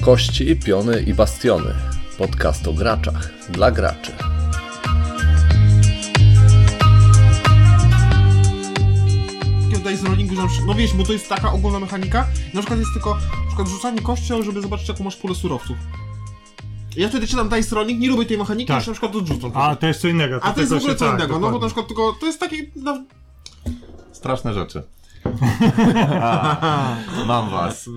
Kości, piony i bastiony. Podcast o graczach dla graczy. takiego dice rollingu, że na przykład, no wiesz, bo to jest taka ogólna mechanika, na przykład jest tylko na przykład rzucanie kością, żeby zobaczyć jaką masz pulę surowców. Ja wtedy czytam dice rolling, nie lubię tej mechaniki, Tak. już na przykład odrzucam. A to jest co innego. A to jest w tego ogóle się- co tak, innego, no bo na dokładnie. przykład tylko, to jest takie, no, Straszne rzeczy. Mam was.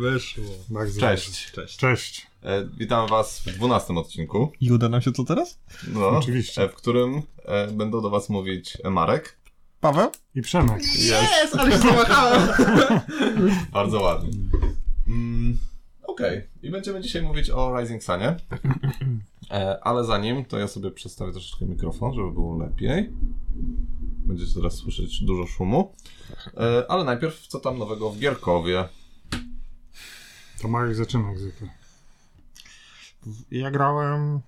Cześć. Cześć. E, witam was w 12 odcinku, I uda nam się co teraz? no, Oczywiście. e, w którym e, będą do was mówić e, Marek. Paweł? I Przemek. jest, ale się zamachałem. Bardzo ładnie. Mm, Okej. I będziemy dzisiaj mówić o Rising Sunie. E, ale zanim, to ja sobie przestawię troszeczkę mikrofon, żeby było lepiej. Będziecie teraz słyszeć dużo szumu. E, ale najpierw, co tam nowego w Gierkowie? To Marek zaczyna jak zwykle. Ja grałem...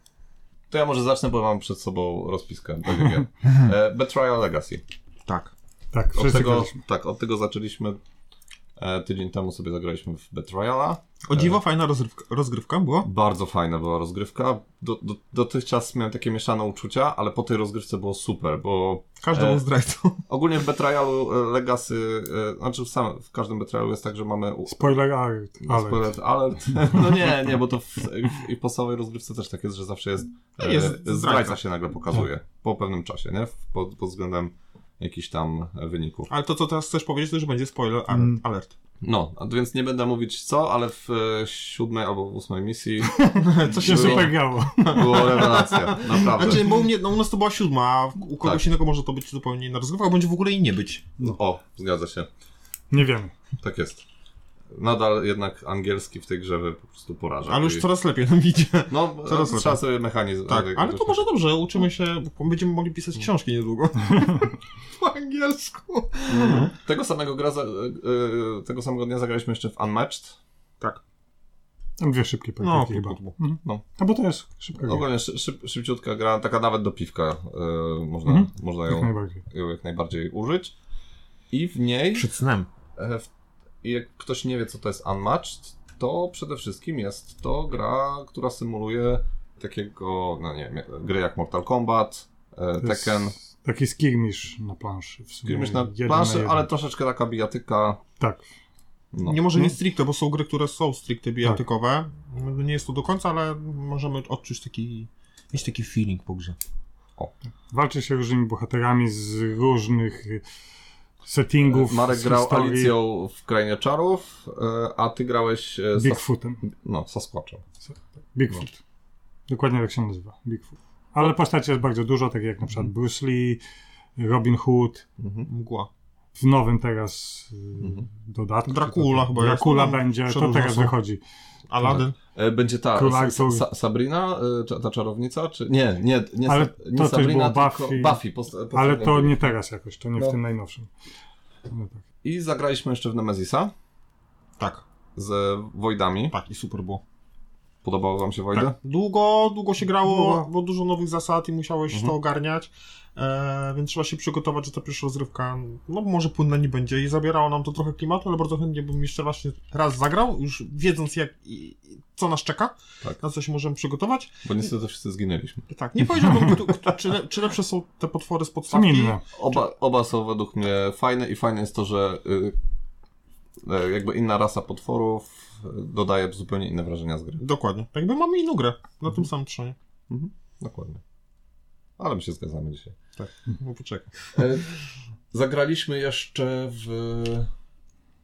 To ja może zacznę, bo mam przed sobą rozpiskę. Tak jak ja. e, Betrayal Legacy. Tak. Tak, Od wszyscy tego, graliśmy. tak, od tego zaczęliśmy. E, tydzień temu sobie zagraliśmy w Betrayala. O E. dziwo, fajna rozrywka, rozgrywka była. Bardzo fajna była rozgrywka. Do, do, dotychczas miałem takie mieszane uczucia, ale po tej rozgrywce było super, bo Każdy był E. zdrajcą. ogólnie w Betrayalu e, Legacy, e, znaczy w, sam, w każdym Betrayalu jest tak, że mamy... U, Spoiler alert. alert. Spoiler alert. No nie, nie, bo to w, w, i w podstawowej rozgrywce też tak jest, że zawsze jest, No e, Jest zdrajca. zdrajca się nagle pokazuje po pewnym czasie, nie? W- Pod, pod względem jakichś tam wyników. Ale to, co teraz chcesz powiedzieć, to już będzie spoiler alert. Mm. alert. No, a więc nie będę mówić co, ale w e, siódmej albo w ósmej misji To się Było- super grało. było rewelacja, naprawdę. Znaczy, bo u mnie, no u nas to była siódma, a u kogoś Tak. innego może to być zupełnie inna rozgrywka, a będzie w ogóle i nie być. O, zgadza się, Nie wiem. tak jest. Nadal jednak angielski w tej grze po prostu poraża. Ale już I- coraz lepiej nam idzie. No, coraz trzeba sobie mechanizm... Tak, ale to może dobrze, uczymy się, bo będziemy mogli pisać książki niedługo. po angielsku. Tego samego, gra za, e, e, tego samego dnia zagraliśmy jeszcze w Unmatched. Tam dwie szybkie No, praktyki chyba. No. A bo to jest szybka gra. Ogólnie szy, szyb, szybciutka gra, taka nawet do piwka e, można, Mhm. można Jak ją, najbardziej. ją jak najbardziej użyć. I w niej... Przed snem. E, w- i Jak ktoś nie wie, co to jest Unmatched, to przede wszystkim jest to gra, która symuluje takiego, no nie wiem, gry jak Mortal Kombat, e, To jest Tekken. Taki skirmish na planszy. w sumie. Grymisz na Jeden planszy, jeden. ale troszeczkę taka bijatyka. Tak. No. Nie może nie No. stricte, bo są gry, które są stricte bijatykowe. No Nie jest to do końca, ale możemy odczuć taki, mieć taki feeling po grze. Walczy się różnymi bohaterami z różnych y, settingów. E, Marek z grał historii, Alicją w Krainie Czarów, e, a ty grałeś e, Sas- Bigfootem. no, Sasquatchem. Bigfoot. Dokładnie tak się nazywa. Bigfoot. Ale postaci jest bardzo dużo, takie jak na przykład Bruce Lee, Robin Hood, Mhm. Mgła. w nowym teraz y, dodatku. Dracula chyba jest. Dracula No, będzie, to przedłużą teraz są. wychodzi. Aladdin. E, Będzie ta Król sa, Artur. sa, Sabrina, e, cza- ta czarownica, czy nie, nie, nie, Ale Sa- to nie coś Sabrina, było tylko Buffy. Buffy post- Ale postawiono. to nie teraz jakoś, to nie No. w tym najnowszym. No tak. I zagraliśmy jeszcze w Nemezisa Tak, z Wojdami. tak i super było. Podobało wam się Wojdy? Tak. Tak. Długo, długo się grało, Długo. bo dużo nowych zasad i musiałeś to ogarniać, e, więc trzeba się przygotować, że ta pierwsza rozgrywka, no może płynna nie będzie i zabierało nam to trochę klimatu, ale bardzo chętnie bym jeszcze właśnie raz zagrał, już wiedząc jak, i, i co nas czeka, Tak. na co się możemy przygotować. Bo niestety wszyscy zginęliśmy. I tak, nie powiedziałbym, kto, kto, czy, le, czy lepsze są te potwory z Są podstawki. inne. Oba, oba są według mnie fajne i fajne jest to, że y, e, jakby inna rasa potworów y, dodaje zupełnie inne wrażenia z gry. Dokładnie. Tak jakby mamy inną grę na tym samym trzonie. Dokładnie. Ale my się zgadzamy dzisiaj. No poczekaj. E, zagraliśmy jeszcze w y,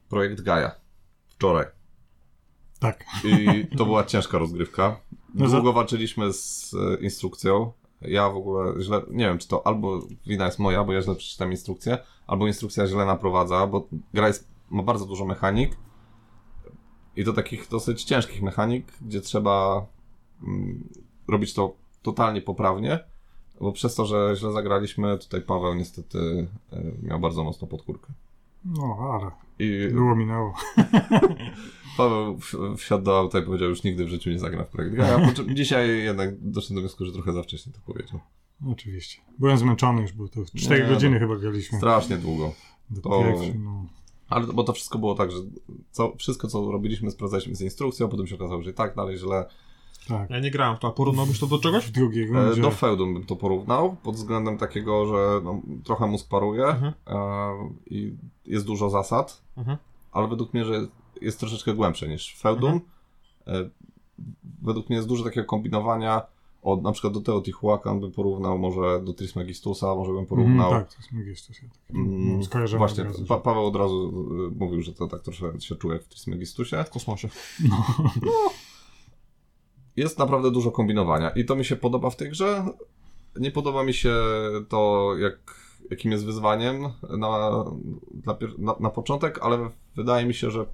projekt Gaia wczoraj. Tak. I to była ciężka rozgrywka. No za- Długo walczyliśmy z e, instrukcją. Ja w ogóle źle, nie wiem czy to albo wina jest moja, bo ja źle przeczytam instrukcję, albo instrukcja źle naprowadza, bo gra jest, ma bardzo dużo mechanik i to takich dosyć ciężkich mechanik, gdzie trzeba mm, robić to totalnie poprawnie, bo przez to, że źle zagraliśmy, tutaj Paweł niestety e, miał bardzo mocno podkórkę. No, ale I było minęło. Paweł w- wsiadł do auta i powiedział, już nigdy w życiu nie zagra w projekt. Gaia, po czym dzisiaj jednak doszedłem do wniosku, że trochę za wcześnie to powiedział. Oczywiście. Byłem zmęczony już, bo to 4 Nie, godziny no. chyba graliśmy. Strasznie długo. Do to- pierwszej, no. Ale to- bo to wszystko było tak, że co, wszystko, co robiliśmy, sprawdzaliśmy z instrukcją, potem się okazało, że tak dalej, źle. Tak. Ja nie grałem w to, a porównałbyś to do czegoś? W drugiej E, rundzie. do feudum bym to porównał, pod względem takiego, że no, trochę mózg paruje Mhm. e, i jest dużo zasad, Mhm. ale według mnie, że jest troszeczkę głębsze niż feudum. E, według mnie jest dużo takiego kombinowania, od, na przykład do Teotihuacan bym porównał, może do Trismegistusa, może bym porównał. Mm, tak, to jest Megistus. Ja tak, Mm, mm, skojarzony Właśnie, od razu, pa Paweł od razu y, mówił, że to tak troszkę się czuje w Trismegistusie. W kosmosie. No. Jest naprawdę dużo kombinowania i to mi się podoba w tej grze. Nie podoba mi się to, jak, jakim jest wyzwaniem na, dla pier- na, na początek, ale wydaje mi się, że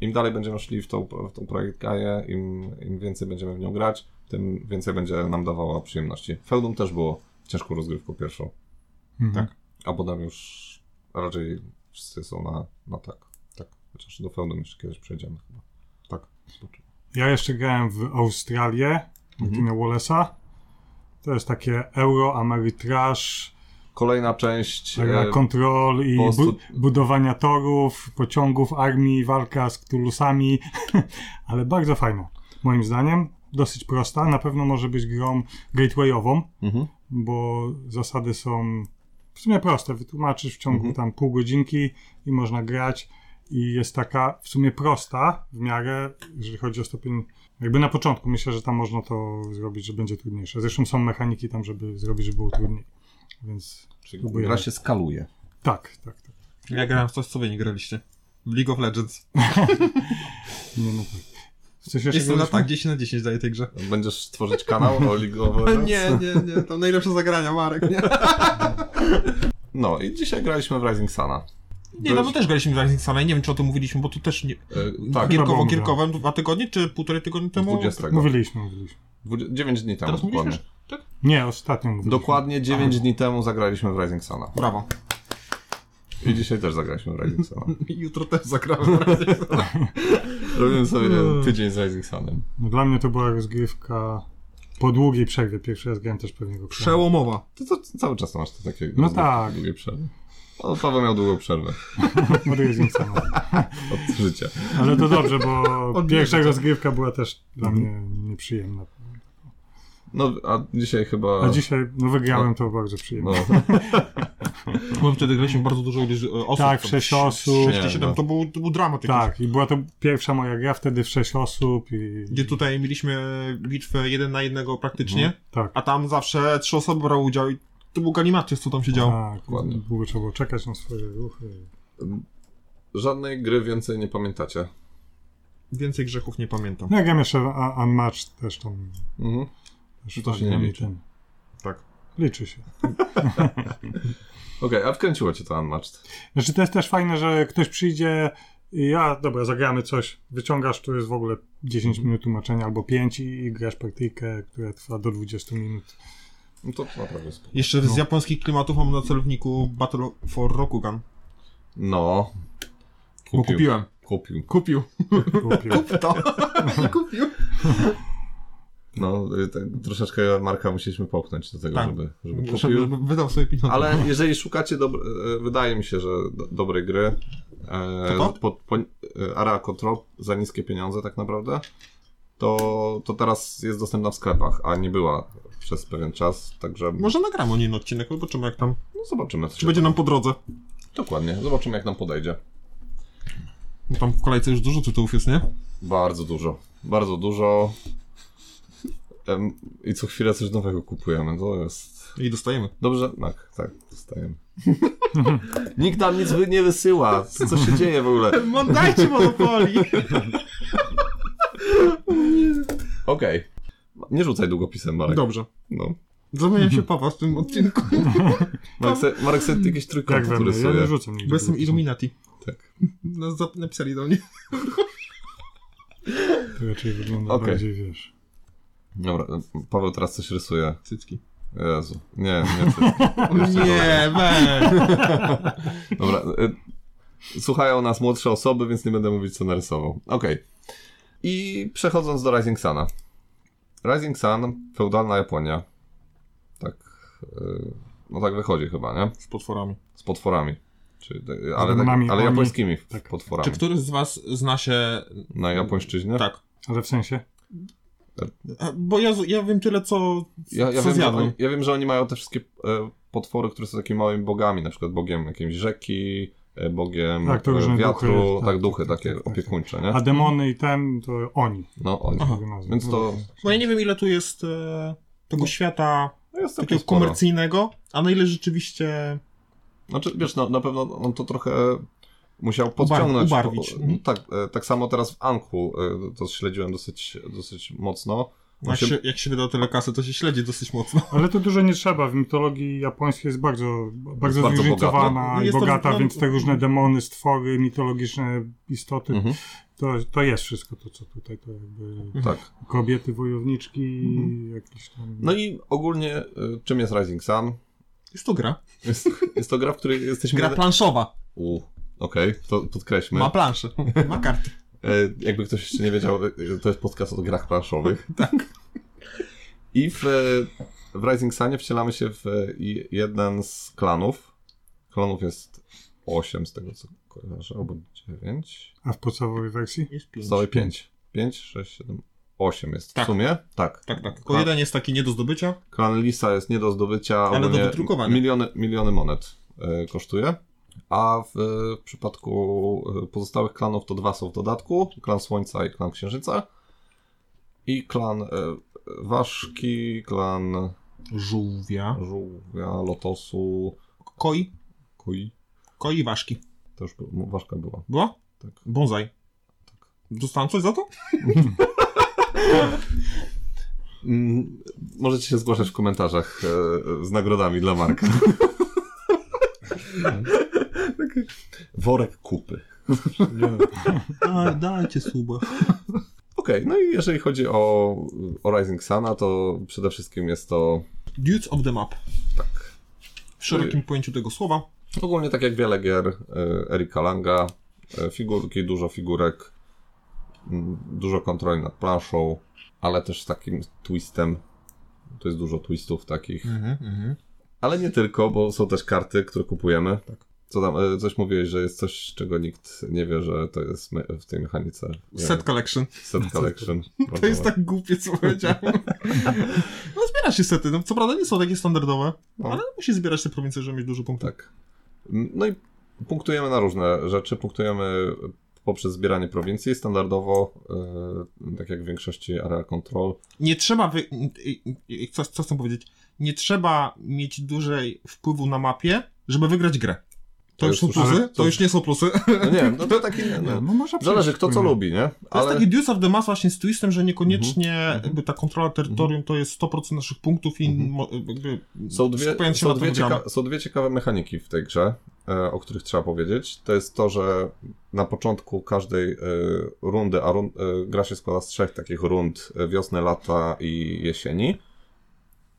im dalej będziemy szli w tą, w tą projekt Gaia, im, im więcej będziemy w nią grać, tym więcej będzie nam dawała przyjemności. Feudum też było ciężką rozgrywką pierwszą, Mhm. tak. a potem już raczej wszyscy są na, na tak. tak. Chociaż do Feudum jeszcze kiedyś przejdziemy chyba. Tak. Ja jeszcze grałem w Australię, Mhm. Martina Wallace'a. To jest takie euro, amerytraż, Kolejna część. Tak, Era e, kontrol i po prostu- bu- budowania torów, pociągów, armii, walka z Cthulhusami, ale bardzo fajna, moim zdaniem. Dosyć prosta, na pewno może być grą gatewayową, Mhm. bo zasady są w sumie proste. Wytłumaczysz w ciągu Mhm. tam pół godzinki i można grać. I jest taka w sumie prosta w miarę, jeżeli chodzi o stopień. Jakby na początku myślę, że tam można to zrobić, że będzie trudniejsze. Zresztą są mechaniki tam, żeby zrobić, żeby było trudniej. Więc Czyli Próbujemy. gra się skaluje. tak, tak, tak. Ja grałem w coś, co wy nie graliście. W League of Legends. Nie, no tak. Coś jeszcze Jestem na graliśmy? tak 10 na 10 daję tej grze. Będziesz tworzyć kanał o League of Legends? E, Nie, nie, nie, to najlepsze zagrania, Marek, nie? No i dzisiaj graliśmy w Rising Suna. Nie, no my też graliśmy w Rising Sun, i nie wiem czy o tym mówiliśmy, bo tu też nie... E, tak, Chyba było Gierkowo, mowa. gierkowem dwa tygodnie, czy półtorej tygodnia temu? 20. Mówiliśmy, mówiliśmy. 9 dni temu Teraz mówiliśmy, dokładnie. że... Tak? Nie, ostatnio mówiliśmy. Dokładnie 9 dni temu zagraliśmy w Rising Suna. Brawo. I dzisiaj też zagraliśmy w Rising Suna. I Jutro też zagrałem w Rising Sun. Robimy sobie No. tydzień z Rising Sunem. No, dla mnie to była rozgrywka po długiej przerwie. Pierwszy raz grałem też pewnie go Przełomowa. Ty to cały czas masz to takie No tak. długie przerwy. No, Paweł miał długą przerwę Od Ryzyncana. od życia. Ale to dobrze, bo Odbierze pierwsza to. rozgrywka była też dla Mhm. mnie nieprzyjemna. No, a dzisiaj chyba... A dzisiaj no, wygrałem, to bardzo przyjemne. No, Bo wtedy graliśmy bardzo dużo ilość e, osób. Tak, Tam sześć ś- osób. sześć, Nie, siedem, no. to był, to był dramat jakiś. Tak, i była to pierwsza moja gra wtedy w sześć osób i... Gdzie tutaj mieliśmy bitwę jeden na jednego praktycznie, Tak. a tam zawsze trzy osoby brały udział i to był galimatius, co tam się działo. Tak, Dokładnie. długo trzeba było czekać na swoje ruchy. żadnej gry więcej nie pamiętacie. Więcej grzechów nie pamiętam. No ja grałem jeszcze a- Unmatched też tam. Mhm. Też To się nie tam liczy. ten. Tak. Liczy się. Okej, a wkręciło cię to Unmatched. Znaczy to jest też fajne, że ktoś przyjdzie i ja, dobra, zagramy coś, wyciągasz, to jest w ogóle 10 Mhm. minut tłumaczenia albo 5 i, i grasz partyjkę, która trwa do 20 minut. No to naprawdę spoko. Jeszcze z japońskich klimatów mam na celowniku Battle for Rokugan. No. Bo kupiłem. Kupił. Kupił. Kupił. To. I kupił. No, y, tak, troszeczkę Marka musieliśmy popchnąć do tego, Tak. żeby, żeby kupił. Żeby Wydał sobie pieniądze. Ale jeżeli szukacie, dob- e, wydaje mi się, że do- dobrej gry, e, To to? po, po, e, Area Control za niskie pieniądze tak naprawdę, to, to teraz jest dostępna w sklepach, a nie była przez pewien czas, także Może nagramy o niej na odcinek, zobaczymy jak tam. no, zobaczymy. co Czy się- będzie nam po drodze? Dokładnie, zobaczymy jak nam podejdzie. Bo tam w kolejce już dużo tytułów jest, nie? Bardzo dużo, bardzo dużo. Em, I co chwilę coś nowego kupujemy, to jest... I dostajemy. Dobrze? Tak, tak, dostajemy. Nikt nam nic wy- nie wysyła. Co się dzieje w ogóle? Dajcie Monopoly! Okej. Nie rzucaj długopisem, Marek. Dobrze. No. Zamieniam się Pawła w tym odcinku, Marek, se, Marek se jakieś Jak trójkąty, Tak we które mnie, ja nie sobie... rzucam nigdy. bo jestem Illuminati. Tak. Nas zap- napisali do mnie. To raczej wygląda Okej. bardziej, wiesz. Dobra, Paweł teraz coś rysuje. Cycki. Jezu. Nie, nie chcę. Nie, weź! Dobra. y, Słuchają nas młodsze osoby, więc nie będę mówić, co narysował. Okej. I przechodząc do Rising Suna. Rising Sun, feudalna Japonia. Tak. y, No tak wychodzi chyba, nie? Z potworami. z potworami. Czy, ale, tak, demonami, ale oni- japońskimi f- tak. potworami. Czy któryś z was zna się... Na japońszczyźnie? Tak. Ale w sensie? E, Bo ja, z- ja wiem tyle, co, Ja, ja, co wiem, że zjadłem. oni, ja wiem, że oni mają te wszystkie e, potwory, które są takimi małymi bogami, na przykład bogiem jakiejś rzeki, e, bogiem Tak, to e, różne wiatru, duchy, tak, tak, duchy tak, takie tak, tak. opiekuńcze, A nie? demony i ten to oni. No, oni. Aha. Mówię nazwę. Więc to Bo No ja nie wiem, ile tu jest e, tego świata no jest takiego całkiem sporo. komercyjnego, a na ile rzeczywiście... Znaczy, wiesz, na, na pewno on to trochę musiał podciągnąć. ubarwić. Po, no, tak, e, tak samo teraz w Anku e, to śledziłem dosyć, dosyć mocno. On Jak się- się, jak się wyda tyle kasy, to się śledzi dosyć mocno. Ale to dużo nie trzeba. W mitologii japońskiej jest bardzo, bardzo bardzo zróżnicowana bogata. i Jest to- bogata, no- więc te różne demony, stwory, mitologiczne istoty, Mhm, to, to jest wszystko to, co tutaj. To jakby tak. kobiety, wojowniczki, jakieś tam... No i ogólnie, e, czym jest Rising Sun? Jest to gra. Jest, jest to gra, w której jesteśmy... Gra planszowa. U, Okej, to podkreślmy. Ma planszę. Ma karty. E, Jakby ktoś jeszcze nie wiedział, e, to jest podcast o grach planszowych. Tak. I w, e, w Rising Sunie wcielamy się w e, i- jeden z klanów. Klanów jest 8 z tego co kojarzę, albo 9. A w podstawowej wersji? Jest pięć. Zostały 5. 5, 6, 7, 8 jest w Tak. sumie. Tak. Tak, tak. Tylko Klan, jeden jest taki nie do zdobycia. klan Lisa jest nie do zdobycia, Ale do ogólnie wydrukowania. Miliony, miliony monet e, kosztuje. A w, e, przypadku e, pozostałych klanów to dwa są w dodatku. Klan Słońca i klan Księżyca. I klan e, Waszki, klan Żółwia. Żółwia, Lotosu, Koi. Kui. Koi i ważki. To już był- Waszka była. Było? Tak. Bonsai. Tak. Dostałem coś za to? Mm, Możecie się zgłaszać w komentarzach e, z nagrodami dla Marka. Taki Worek kupy. A, dajcie suba. Okej, no i jeżeli chodzi o, o Rising Sana, to przede wszystkim jest to Dudes of the map. tak. W szerokim pojęciu tego słowa. Ogólnie tak jak wiele gier e, Erika Langa, e, figurki, dużo figurek, mm, dużo kontroli nad planszą, ale też z takim twistem. To jest dużo twistów takich. mhm. Ale nie tylko, bo są też karty, które kupujemy. Co tam, e, coś mówiłeś, że jest coś, czego nikt nie wie, że to jest me- w tej mechanice. Nie Set wiem, collection. set collection. To jest tak głupie, co powiedziałem. No zbiera się sety. No, co prawda nie są takie standardowe, No. ale musi zbierać te prowincje, żeby mieć dużo punktów. Tak. No i punktujemy na różne rzeczy. Punktujemy poprzez zbieranie prowincji standardowo, e, tak jak w większości area control. Nie trzeba, wy... i- i- i- co, co chcę powiedzieć, nie trzeba mieć dużej wpływu na mapie, żeby wygrać grę. To, To już są już- plusy, ale to... to- już nie są plusy. No nie wiem, no to taki... No, No, no może zależy przejść kto co płynnie. lubi, nie? To jest taki Deuce of the Mass właśnie z twistem, że niekoniecznie Mhm. jakby ta kontrola terytorium to jest 100% naszych punktów i Mhm. mo- jakby Są dwie, skupiając się są, na tym dwie gramy. cieka- są dwie ciekawe mechaniki w tej grze, e, o których trzeba powiedzieć. To jest to, że na początku każdej e, rundy, a run, e, gra się składa z trzech takich rund e, wiosny, lata i jesieni,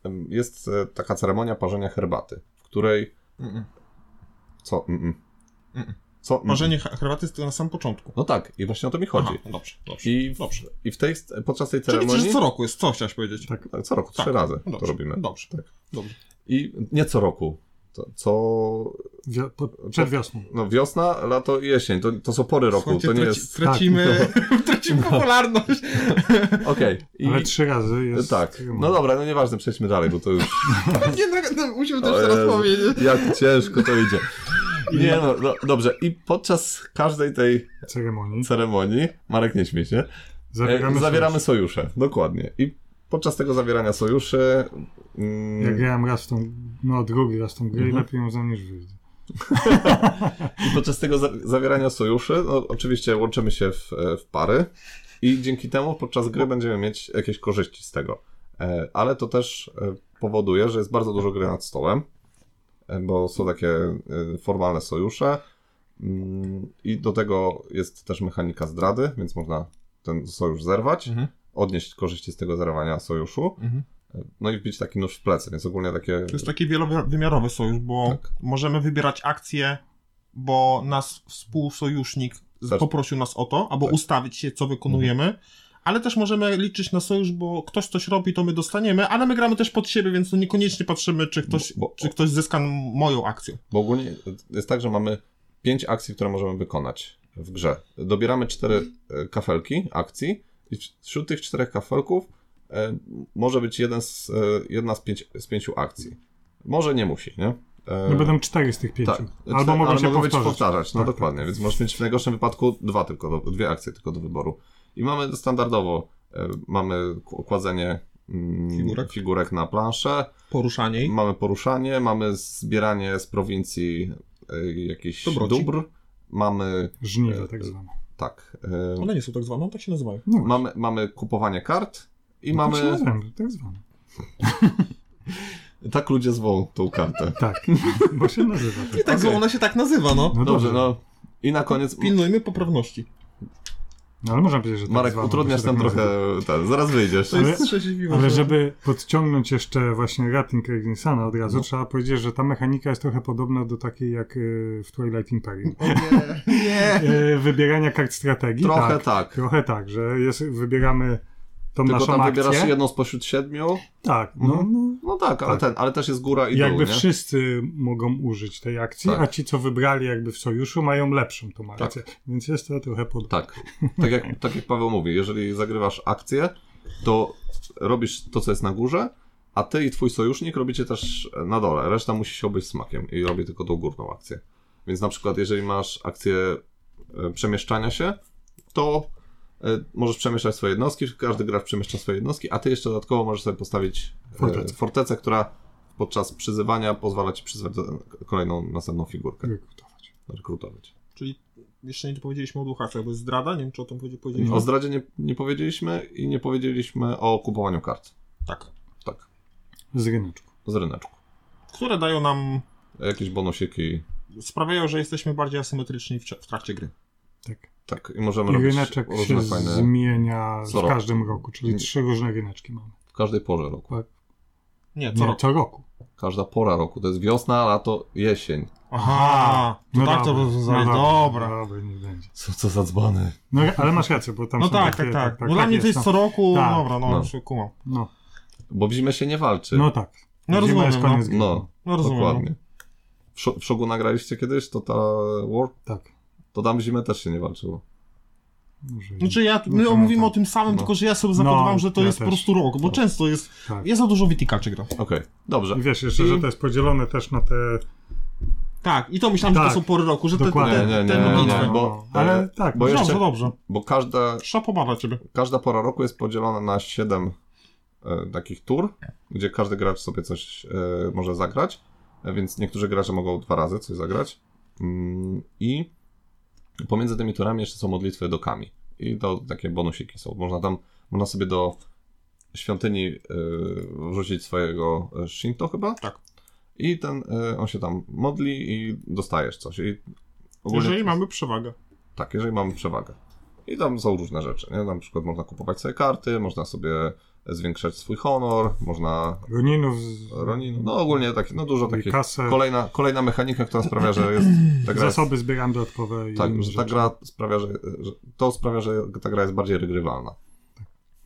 em, jest e, taka ceremonia parzenia herbaty, w której. Mm-mm. Co? Mm-mm. Mm-mm. Co? Mm-mm. Marzenie he- herbaty jest to na samym początku. No tak, i właśnie o to mi chodzi. Aha, dobrze, dobrze. I, w, Dobrze. I w tej, podczas tej Czyli ceremonii. przecież co roku jest, co chciałeś powiedzieć? Tak. Tak, co roku, Tak, trzy razy No to robimy. tak. Dobrze, dobrze. I nie co roku. To, co Wio- po- Przed wiosną. No wiosna, lato i jesień. To, to są pory roku, Słuchajcie, to nie traci- jest... Tak, no. Tracimy, tracimy popularność. Okej. Ale I trzy razy jest... Tak. No dobra, no nieważne, przejdźmy dalej, bo to już... Nie, no, no, musimy O też teraz Jezu, powiedzieć. Jak ciężko to idzie. Nie no, no, dobrze. I podczas każdej tej Ceremonii. ceremonii, Marek nie śmie się, Zawieramy, e, zawieramy sojusze. Dokładnie. I podczas tego zawierania sojuszy... sojusz. Ja Mm, grałem raz w tą, no drugi raz w tą grę i Mhm. lepiej ją znam niż wyjdzie. I podczas tego za zawierania sojuszy, no, oczywiście łączymy się w, e, w pary i dzięki temu podczas gry będziemy mieć jakieś korzyści z tego. E, Ale to też e, powoduje, że jest bardzo dużo gry nad stołem, e, bo są takie e, formalne sojusze Mm, i do tego jest też mechanika zdrady, więc można ten sojusz zerwać, Mhm. odnieść korzyści z tego zerwania sojuszu, Mhm. e, no i wbić taki nóż w plecy, więc ogólnie takie... To jest taki wielowymiarowy sojusz, bo Tak. możemy wybierać akcje, bo nas współsojusznik z- Też- poprosił nas o to, albo Tak. Mhm. ustawić się, co wykonujemy. ale też możemy liczyć na sojusz, bo ktoś coś robi, to my dostaniemy, ale my gramy też pod siebie, więc no niekoniecznie patrzymy, czy ktoś, Bo- bo- czy ktoś zyska moją akcję. Bo ogólnie jest tak, że mamy pięć akcji, które możemy wykonać w grze. Dobieramy cztery e, kafelki akcji i wś- wśród tych czterech kafelków e, może być jeden z, e, jedna z, pięć, z pięciu akcji. Może nie musi, nie? E, No będą cztery z tych pięciu. tak. Albo mogą ale się mogą być powtarzać. powtarzać. No Tak, dokładnie, więc możesz mieć w najgorszym wypadku dwa tylko, do, dwie akcje tylko do wyboru. I mamy standardowo, e, mamy k- kładzenie mm, Figurek. figurek na planszę, Poruszanie. ich. Mamy poruszanie, mamy zbieranie z prowincji y, jakichś Dobroci. dóbr. Mamy, E, Żniwa tak zwane. tak, y, One nie są tak zwane, one tak się nazywają. No, mamy, mamy kupowanie kart i tak się mamy... nazywają, tak zwane. Tak ludzie zwą tą kartę. Tak, bo się nazywa tak. I tak, Okej. okay. ona się tak nazywa, no. No Dobrze, dobrze, no i na koniec... Pilnujmy poprawności. no, ale można powiedzieć, że tak Marek, zwane, bo utrudniasz się tam tak trochę... nazywa. Ten, zaraz wyjdziesz. To Ale- jest trzeźwiwe. Ale że- żeby podciągnąć jeszcze właśnie rating Regnisana od No. razu, trzeba powiedzieć, że ta mechanika jest trochę podobna do takiej jak y, w Twilight Imperium. O nie, nie. Y, Wybierania kart strategii, Trochę tak. tak. Trochę tak, że jest, wybieramy tą Tylko naszą tam akcję. wybierasz jedną spośród siedmiu. Tak, no, Mhm. no No tak, ale, Tak. Ten, ale też jest góra i I jakby dół, nie? wszyscy mogą użyć tej akcji, Tak. a ci, co wybrali jakby w sojuszu, mają lepszą tą akcję. Więc jest to trochę podobne. Tak. Tak jak, tak jak Paweł mówi, jeżeli zagrywasz akcję, to robisz to, co jest na górze, a ty i twój sojusznik robicie też na dole. Reszta musi się obejść smakiem i robię tylko tą górną akcję. Więc na przykład, jeżeli masz akcję e, przemieszczania się, to e, możesz przemieszczać swoje jednostki, każdy gracz przemieszcza swoje jednostki, a ty jeszcze dodatkowo możesz sobie postawić fortecę, Fortecę. fortecę która podczas przyzywania pozwala ci przyzwać do- kolejną następną Mm. figurkę, Rekrutować. rekrutować. Czyli jeszcze nie powiedzieliśmy o dwóch akcjach, bo jest zdrada, nie wiem czy o tym powiedzi- powiedzieliśmy. No. O zdradzie nie, nie powiedzieliśmy i nie powiedzieliśmy o kupowaniu kart. Tak. Tak, Z ryneczku. z ryneczku. Które dają nam, Jakieś bonusiki. sprawiają, że jesteśmy bardziej asymetryczni w, cia- w trakcie gry. Tak. Tak, i możemy I robić ryneczek różne się fajne zmienia Co w roku. każdym roku, czyli trzy różne ryneczki mamy. w każdej porze roku. Nie, co Nie, rok. co roku. Każda pora roku. To jest wiosna, lato, jesień. Aha, to tak to No dobra. rozwiązali, No dobra. Dobra, niech będzie. Co, co za dzbany. No, ale masz rację, bo tam No są tak, takie, tak, tak. No dla mnie to jest co roku, Tak. dobra, no, No. już kumam. No, Bo w zimę się nie walczy. no tak. No Zima rozumiem, jest no, koniec gry. No, no rozumiem. dokładnie. W, Sho- w Szogu nagraliście kiedyś, to ta War, Tak. to tam w zimę też się nie walczyło. Dobrze, No. Znaczy ja, my No, mówimy no. o tym samym, No. tylko że ja sobie zapodawam, że to ja jest po też. prostu rok, bo Tak. często jest, tak. jest za dużo wytikaczy gra. Okej, dobrze. I wiesz jeszcze, że to jest podzielone też na te Tak, i to myślałem, że Tak. to są pory roku, że te, te, Dokładnie. te, Nie, nie, te E, nie, modlitwy. nie, bo- ale e, tak, bo no, ja- Dobrze, jeszcze- dobrze. Bo każda, Trzeba pobadać ciebie. każda pora roku jest podzielona na 7 e, takich tur, gdzie każdy gracz sobie coś e, może zagrać, e, więc niektórzy gracze mogą dwa razy coś zagrać. Mm, I pomiędzy tymi turami jeszcze są modlitwy do kami. I to takie bonusiki są. Można tam, można sobie do świątyni e, wrzucić swojego e, Shinto chyba. Tak. I ten, e, on się tam modli i dostajesz coś. I ogólnie- Jeżeli mamy przewagę. tak, jeżeli mamy przewagę. I tam są różne rzeczy, nie? Na przykład można kupować sobie karty, można sobie zwiększać swój honor, można Roninów no, z... ronin, no ogólnie takie, no dużo I takich. kasę. Kolejna, kolejna mechanika, która sprawia, że jest... Ta gra Zasoby zbieram dodatkowe i Jest, tak, inne że ta rzeczy. gra sprawia, że, że... To sprawia, że ta gra jest bardziej regrywalna.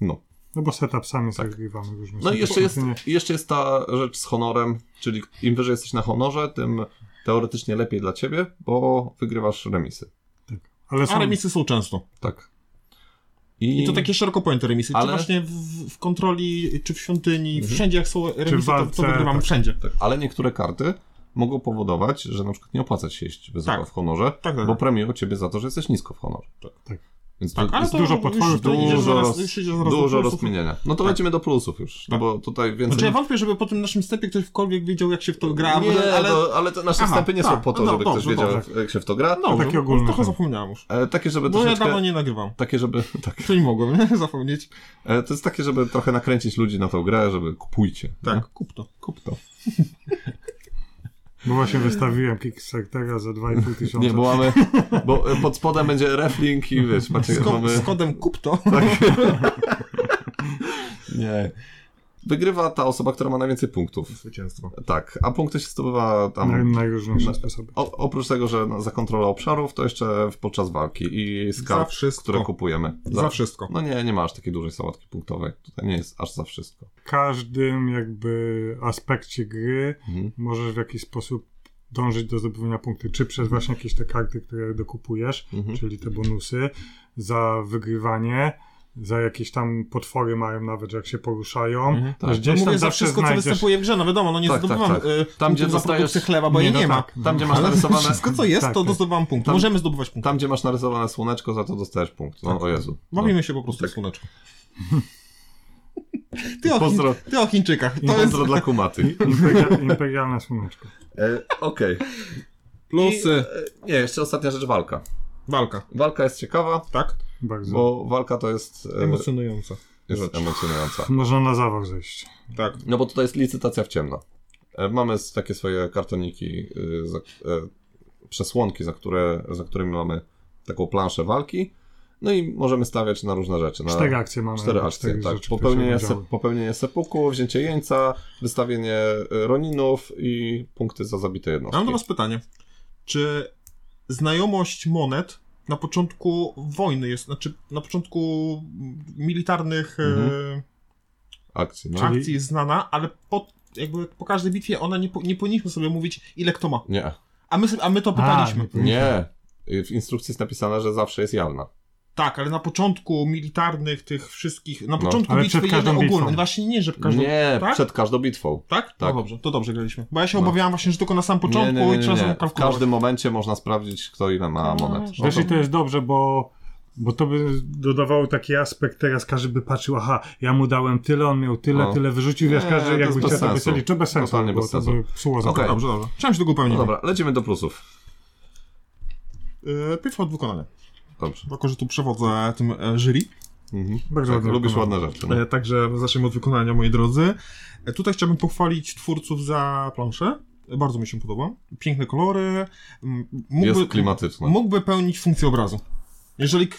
No. No bo setup sami zagrywamy różne No i rzeczy. jeszcze jest, Nie- i jeszcze jest ta rzecz z honorem, czyli im wyżej jesteś na honorze, tym teoretycznie lepiej dla ciebie, bo wygrywasz remisy. Ale A są... remisy są często. Tak. I to takie szeroko pojęte remisy. Ale- Mhm. Czy właśnie w, w kontroli, czy w świątyni, wszędzie jak są remisy, to, walce, to wygrywamy tak. wszędzie. Tak, ale niektóre karty mogą powodować, że na przykład nie opłaca się iść wysoko Tak. w honorze, Tak, tak. bo premiują ciebie za to, że jesteś nisko w honorze. Tak. Więc tak, tu ale jest to dużo już- potworów, to idzie dużo zaraz- roz- już idzie zaraz do dużo plusów. rozkminienia. No to Tak. lecimy do plusów już, Tak. no bo tutaj więcej... Znaczy ja wątpię, żeby po tym naszym wstępie ktośkolwiek wiedział, jak się w to gra, nie, ale... to, ale te nasze Aha, wstępy nie są tak. po to, No, żeby dobrze, ktoś wiedział, dobrze. jak się w to gra. Mhm. No, takie takie ogólne ogólne. Trochę są. zapomniałem już. E, takie, żeby Bo ja troszeczkę... dawno nie nagrywam. Takie, żeby... Tak. To nie mogłem, nie? Zapomnieć. E, to jest takie, żeby trochę nakręcić ludzi na tą grę, żeby kupujcie. Tak, kup to. Kup to. Bo właśnie wystawiłem Kickstartera za 2,5 tysiąca. Nie, bo mamy... Bo e, pod spodem będzie reflink i wiesz, macie... Z, ko- mamy... z kodem kup to. Nie. wygrywa ta osoba, która ma najwięcej punktów. Zwycięstwo. Tak, a punkty się zdobywa Na tam... najróżniejsze sposoby. O, oprócz tego, że no, za kontrolę obszarów, to jeszcze w- podczas walki i Za skarb, wszystko. które kupujemy. Za wszystko. No nie, nie masz takiej dużej sałatki punktowej. Tutaj nie jest aż za wszystko. W każdym jakby aspekcie gry Mhm. możesz w jakiś sposób dążyć do zdobywania punktów, czy przez właśnie jakieś te karty, które dokupujesz, Mhm. czyli te bonusy, za wygrywanie, za jakieś tam potwory mają nawet, że jak się poruszają. Mhm, tak. Że No gdzieś mówię tam za zawsze wszystko, co znajdziesz... występuje w grze, no wiadomo, no nie Tak, zdobywam tak, tak. y, Tam, gdzie punktów za dostajesz- produkcję chleba, bo Nie, jej no nie ma. tak. Tam, gdzie masz Ale narysowane- wszystko, co jest, Tak, to tak. zdobywam punkt. Tam- Możemy zdobywać punkt. Tam, gdzie masz narysowane słoneczko, za to dostajesz punkt. Tak. No, o Jezu. No. Bawimy się po prostu w słoneczko. Ty o, Chin, Pozdro, ty o Chińczykach. To jest pozdro dla kumaty. Imperia, imperialne słoneczko. E, Okej. plusy. I, e, nie, jeszcze ostatnia rzecz, walka. Walka. Walka jest ciekawa, Tak? Bardzo. bo walka to jest, e, Emocjonująca. jest emocjonująca. Można na zawał zejść. Tak. No bo tutaj jest licytacja w ciemno. E, Mamy s- takie swoje kartoniki, y, za, e, przesłonki, za, które, za którymi mamy taką planszę walki. No i możemy stawiać na różne rzeczy. Na Cztery akcje mamy. cztery jakby akcje, tak. rzeczy, które się Popełnienie, se, wydarzyły. popełnienie sepuku, wzięcie jeńca, wystawienie e, roninów i punkty za zabite jednostki. Mam do was pytanie. Czy znajomość monet na początku wojny jest, znaczy na początku militarnych e, Mhm. Akcji, no. Czyli- akcji jest znana, ale po, jakby po każdej bitwie ona nie, po, nie powinniśmy sobie mówić ile kto ma. Nie, A my, sobie- a my to pytaliśmy. nie. nie. Y, W instrukcji jest napisane, że zawsze jest jawna. Tak, ale na początku militarnych tych wszystkich, na No, początku ale bitwy przed jednej każdą bitwą. ogólnej. Właśnie nie, że każdą... Nie, tak? przed każdą bitwą. Tak? No Tak. dobrze, to dobrze graliśmy. Bo ja się No. obawiałam właśnie, że tylko na sam początku nie, nie, nie, i nie, trzeba Tak, no, nie. sobie W kalkulować. każdym momencie można sprawdzić, kto ile ma monet. Wiesz, i to jest dobrze, bo, bo to by dodawało taki aspekt, teraz każdy by patrzył, aha, ja mu dałem tyle, on miał tyle, No. tyle wyrzucił, wiesz, Nie, każdy to jakby jest bez chciał to by sensu. sobie liczył, bez sensu, Totalnie bo bez to sensu. by psuło za Okej. Dobrze, dobrze. Chciałem się tego No upewnić. dobra, lecimy do plusów. Yy, Pierwszy od wykonania. Dobrze. Jako, że tu przewodzę tym e, jury. Bardzo Tak, ładnie lubisz wykonane. ładne rzeczy. No. E, Także zacznijmy od wykonania, moi drodzy. E, Tutaj chciałbym pochwalić twórców za planszę. E, Bardzo mi się podoba. Piękne kolory. M- Mógłby, Jest klimatyczne. mógłby pełnić funkcję obrazu. Jeżeli k-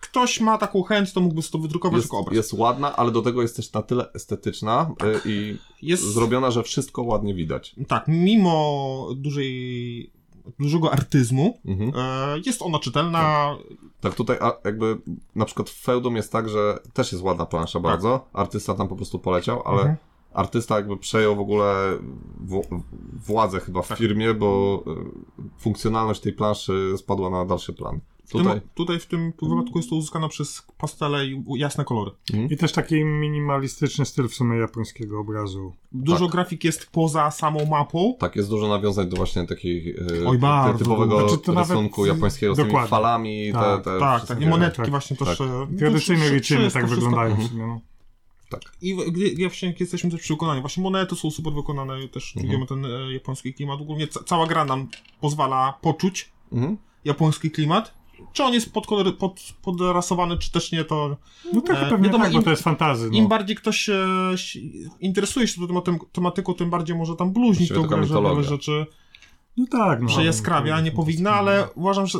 ktoś ma taką chęć, to mógłby sobie to wydrukować Jest, jako obraz. jest ładna, ale do tego jest też na tyle estetyczna y, i Jest- zrobiona, że wszystko ładnie widać. Tak, mimo dużej, dużego artyzmu, Mhm. e, jest ona czytelna. Tak tutaj a, jakby na przykład w Feudum jest tak, że też jest ładna plansza bardzo. Artysta tam po prostu poleciał, ale Tak. Mhm. artysta jakby przejął w ogóle w, władzę chyba w Tak. firmie, bo y, funkcjonalność tej planszy spadła na dalszy plan. Tutaj. Tutaj Tym, tutaj w tym wypadku jest to uzyskana przez pastele i u- jasne kolory. I też taki minimalistyczny styl w sumie japońskiego obrazu. Dużo grafik jest poza samą mapą. tak jest dużo nawiązań do właśnie takich y, Oj, ty- bardzo typowego dużo. Znaczy, to nawet- rysunku japońskiego z tymi dokładnie. falami. Tak, te, te tak, wszystkie- tak, i monetki tak, właśnie tak. też. e, Tradycyjne wszy- wieciny wszystko, tak wszystko. wyglądają Mhm. w sumie, no. I w- gdy, gdy właśnie jak jesteśmy też przekonani, właśnie monety są super wykonane, też Mhm. czujemy ten e, japoński klimat. Ogólnie ca- cała gra nam pozwala poczuć Mhm. japoński klimat. Czy on jest podkolor- pod, podrasowany, czy też nie, to No tak, E, pewnie wiadomo, tak, bo im- to jest fantazy, no. Im bardziej ktoś się się interesuje się tą tematem, tematyką, tym bardziej może tam bluźnić Właściwie tą taka grę, że mitologia. nowe rzeczy No tak, no. przejaskrawia, nie To- powinna, ale uważam, że,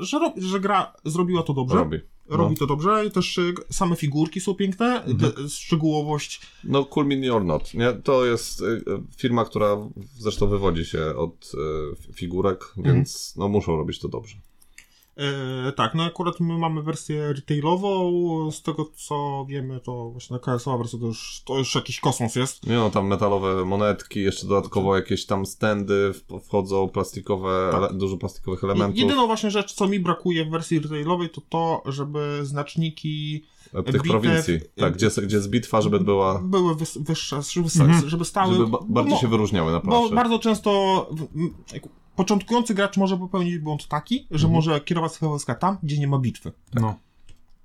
że, rob, że gra zrobiła to dobrze. Robi. No. Mhm. Robi to dobrze i też y, same figurki są piękne, te- y, szczegółowość. No, Cool Mini or Not. Nie? To jest y, y, firma, która zresztą wywodzi się od y, figurek, Mhm. więc no, muszą robić to dobrze. E, tak, no akurat my mamy wersję retailową, z tego co wiemy, to właśnie na KSO wersja to już, to już jakiś kosmos jest. Nie, no, tam metalowe monetki, jeszcze dodatkowo jakieś tam stędy, w- wchodzą plastikowe, Tak. ele- dużo plastikowych Je- elementów. Jedyną właśnie rzecz, co mi brakuje w wersji retailowej, to to, żeby znaczniki e, Tych bitew- prowincji, tak, gdzie, se- gdzie jest bitwa, żeby była, były wys, wyższe, żeby, Mhm. żeby stały. żeby ba bardziej bo, się wyróżniały na no Bo planszy. bardzo często w- m, jak początkujący gracz może popełnić błąd taki, że Mhm. może kierować swoje wojska tam, gdzie nie ma bitwy. No.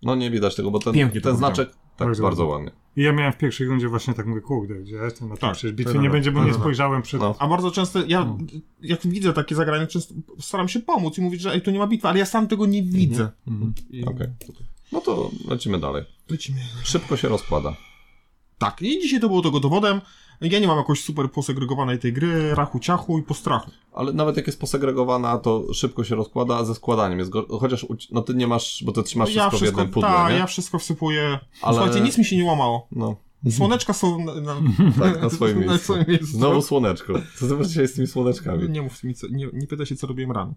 No nie widać tego, bo ten, Pięknie to ten wygląda. znaczek tak Bardzo bardzo, ładnie. ładnie. I ja miałem w pierwszej rundzie właśnie tak mówię, kurde, gdzie ja jestem na Tak, tak, przecież bitwy tak, nie tak, będzie, bo tak, nie tak. spojrzałem przed... No. A bardzo często ja, Hmm. Mhm. jak widzę takie zagrania, często staram się pomóc i mówić, że ej, tu nie ma bitwy, ale ja sam tego nie widzę. Mhm. I Okej. No to lecimy dalej. Lecimy. Szybko się rozkłada. Tak, i dzisiaj to było tego dowodem. Ja nie mam jakoś super posegregowanej tej gry, rachu ciachu i postrachu. Ale nawet jak jest posegregowana, to szybko się rozkłada ze składaniem. Jest go... Chociaż u... no ty nie masz, bo ty trzymasz wszystko, w jednym pudle, No ta, nie? ja tak, wszystko wsypuję. Ale- Słuchajcie, nic mi się nie łamało. No. Słoneczka są na, na, Tak, na swoim na miejscu. swoim miejscu. No Znowu słoneczko. Co ty masz dzisiaj z tymi słoneczkami? Nie mów mi, co, nie, nie pytaj się, co robiłem rano.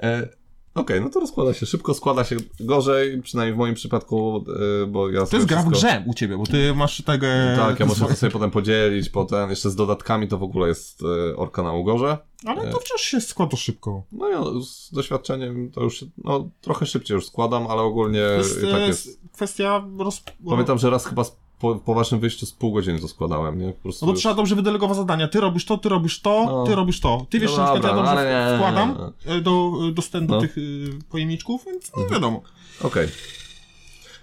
E, Okej, no to rozkłada się. Szybko składa się gorzej, przynajmniej w moim przypadku, e, bo ja To sobie jest gra w wszystko- grze u ciebie, bo ty masz tego... Tak, ja muszę to swoje- sobie potem podzielić, potem jeszcze z dodatkami to w ogóle jest e, orka na ugorze. Ale e, to wciąż się składa szybko. No ja z doświadczeniem to już, się- no trochę szybciej już składam, ale ogólnie To jest, no. tak e, jest. kwestia... Roz... Pamiętam, że raz chyba z- po, po waszym wyjściu z pół godziny to składałem, nie? Po No prostu bo już- trzeba dobrze wydelegować zadania. Ty robisz to, ty robisz to, No. ty robisz to. Ty wiesz, No że na przykład ja dobra, dobrze no ale nie, wkładam nie, e, do, do stędu No. tych y, pojemniczków, więc no wiadomo. Okej.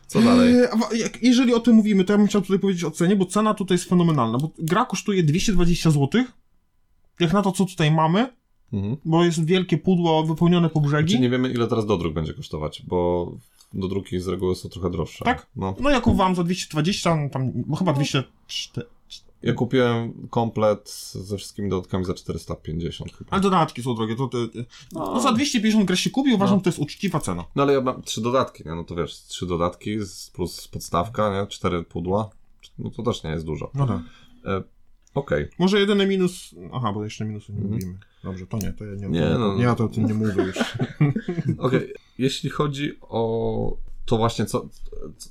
Co dalej? E, a wa- jak- Jeżeli o tym mówimy, to ja bym chciał tutaj powiedzieć o cenie, bo cena tutaj jest fenomenalna, bo gra kosztuje 220 zł. Jak na to, co tutaj mamy, Mhm. bo jest wielkie pudło wypełnione po Czy brzegi. Znaczy nie wiemy, ile teraz dodruk będzie kosztować, bo dodruki z reguły są trochę droższe. Tak? No. No jaką wam za 220, no tam no, chyba 204. Ja kupiłem komplet ze wszystkimi dodatkami za 450 chyba. Ale dodatki są drogie, to te, no. za 250 gra się kupi, uważam, że to jest uczciwa cena. No ale ja mam trzy dodatki, nie? No to wiesz, trzy dodatki z- plus podstawka, nie? Cztery pudła. No to też nie jest dużo. No tak. Okej. Może jedyny minus. Aha, bo jeszcze minusu nie Mhm. mówimy. Dobrze, to nie, to ja nie, Nie, to, no. nie ja to o tym nie mówię już. Okej, jeśli chodzi o to właśnie, co,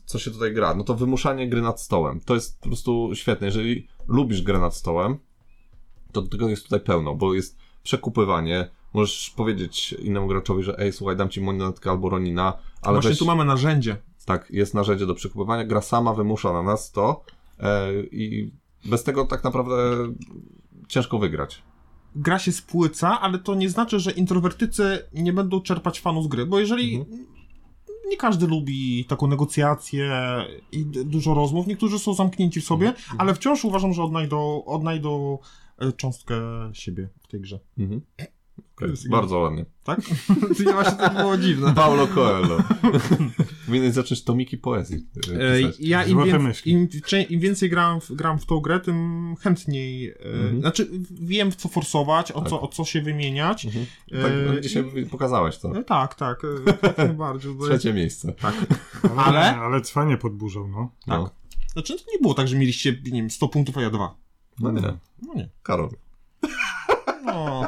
co się tutaj gra, no to wymuszanie gry nad stołem. To jest po prostu świetne. Jeżeli lubisz grę nad stołem, to tego jest tutaj pełno, bo jest przekupywanie, możesz powiedzieć innemu graczowi, że ej, słuchaj, dam ci monetkę albo Ronina, ale Właśnie weź... tu mamy narzędzie. Tak, jest narzędzie do przekupywania, gra sama wymusza na nas to e, i bez tego tak naprawdę ciężko wygrać. Gra się spłyca, ale to nie znaczy, że introwertycy nie będą czerpać fanu z gry, bo jeżeli. Mhm. Nie każdy lubi taką negocjację i d- dużo rozmów. Niektórzy są zamknięci w sobie, Mhm. ale wciąż uważam, że odnajdą, odnajdą e, cząstkę siebie w tej grze. Mhm. Okej, jest- Bardzo ładnie. Tak? ja właśnie to było dziwne. Paulo Coelho. Powinieneś zacząć tomiki poezji. e, E, pisać. Ja im, Złote wię- myśli. im, czę- im więcej gram w, gram w tą grę, tym chętniej. E, Mhm. Znaczy, wiem w co forsować, o, Tak. co, o co się wymieniać. Mhm. e, Tak, dzisiaj pokazałeś to. E, tak, tak. e, jak Najbardziej. bo- Tak. Trzecie miejsce. Ale? Ale cwanie podburzał, no. No. Znaczy, to nie było tak, że mieliście, nie wiem, 100 punktów, a ja dwa. No nie, No nie. Karol. No,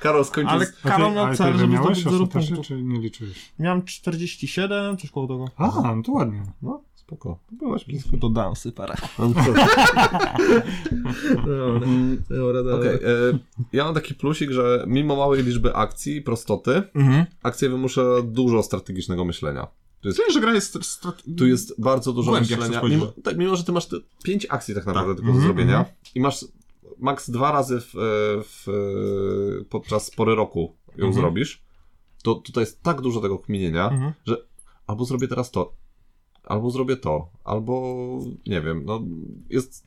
Karol skończył ale z... A Karol ty- miał ale cel, ty żeby miałeś zdobyć 0 ostatecznie, punktów. czy nie liczyłeś? Miałem 47, coś koło tego. Aha, no to ładnie. No, spoko. Byłaś blisko. Dodałem sypara. Okej, e, Ja mam taki plusik, że mimo małej liczby akcji i prostoty, Mhm. akcje wymusza dużo strategicznego myślenia. Czyli, że gra jest strat- Tu jest bardzo dużo Głębia, myślenia. chcesz Mimo, powiedzieć. tak, mimo, że ty masz te pięć akcji tak naprawdę Tak. tylko do Mhm, zrobienia mhm. i masz maks dwa razy w, e, w, e, podczas pory roku ją Mhm. zrobisz, to tutaj jest tak dużo tego kminienia, Mhm. że albo zrobię teraz to, albo zrobię to, albo nie wiem, no jest...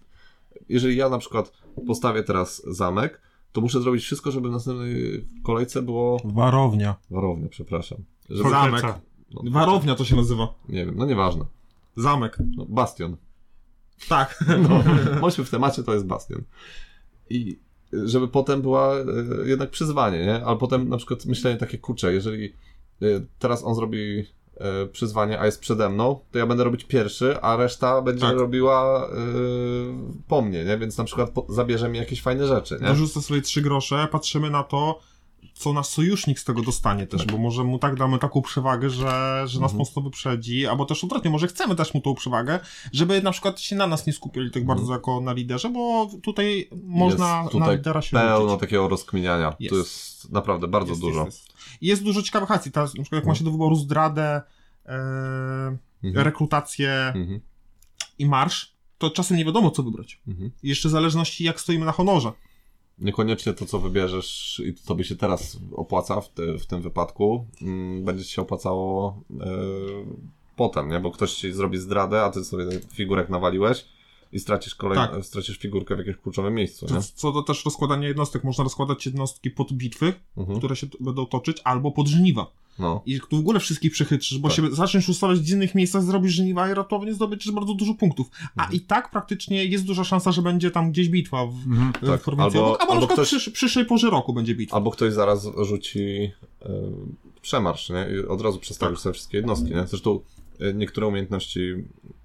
Jeżeli ja na przykład postawię teraz zamek, to muszę zrobić wszystko, żeby w następnej kolejce było... Warownia. Warownia, przepraszam. Żeby, Za- Forteca. Zamek. no, Warownia to się nazywa. nie wiem, no nieważne. Zamek. No, bastion. Tak. No, bądźmy w temacie, to jest Bastion. I żeby potem była e, jednak przyzwanie, nie? Ale potem na przykład myślenie takie, kurczę, jeżeli e, teraz on zrobi e, przyzwanie, a jest przede mną, to ja będę robić pierwszy, a reszta będzie Tak. robiła e, po mnie, nie? Więc na przykład po, zabierze mi jakieś fajne rzeczy, nie? Dorzucę sobie trzy grosze, patrzymy na to, co nasz sojusznik z tego dostanie też, bo może mu tak damy taką przewagę, że, że nas Mhm. mocno wyprzedzi, albo też odwrotnie, może chcemy dać mu tą przewagę, żeby na przykład się na nas nie skupili tak Mhm. bardzo jako na liderze, bo tutaj można na tutaj lidera się Pełno rzucić. takiego rozkminiania. Jest. To jest naprawdę bardzo Jest, dużo. No. Jest, jest. I jest dużo ciekawych akcji, teraz na przykład jak ma się do wyboru zdradę, e, Mhm. rekrutację Mhm. i marsz, to czasem nie wiadomo co wybrać. Mhm. Jeszcze w zależności jak stoimy na honorze. Niekoniecznie to, co wybierzesz i to by się teraz opłaca w, te, w tym wypadku, mm, będzie ci się opłacało e, potem, nie? Bo ktoś ci zrobi zdradę, a ty sobie figurek nawaliłeś i stracisz, kolej, Tak. stracisz figurkę w jakimś kluczowym miejscu, Co, nie? co do też rozkładania jednostek, można rozkładać jednostki pod bitwy, Mhm. które się t- będą toczyć, albo pod żniwa. No. I tu w ogóle wszystkich przechytrzysz, bo Tak. się zaczniesz ustawiać w innych miejscach, zrobisz żniwa i ratownie zdobyczysz bardzo dużo punktów. A Mhm. i tak praktycznie jest duża szansa, że będzie tam gdzieś bitwa w, Mhm. Tak, w formacji albo- obok, albo, albo na przykład ktoś- przy, przyszłej porze roku będzie bitwa. Albo ktoś zaraz rzuci e, przemarsz, nie? I od razu przestawisz sobie wszystkie jednostki, nie? Zresztą y, niektóre umiejętności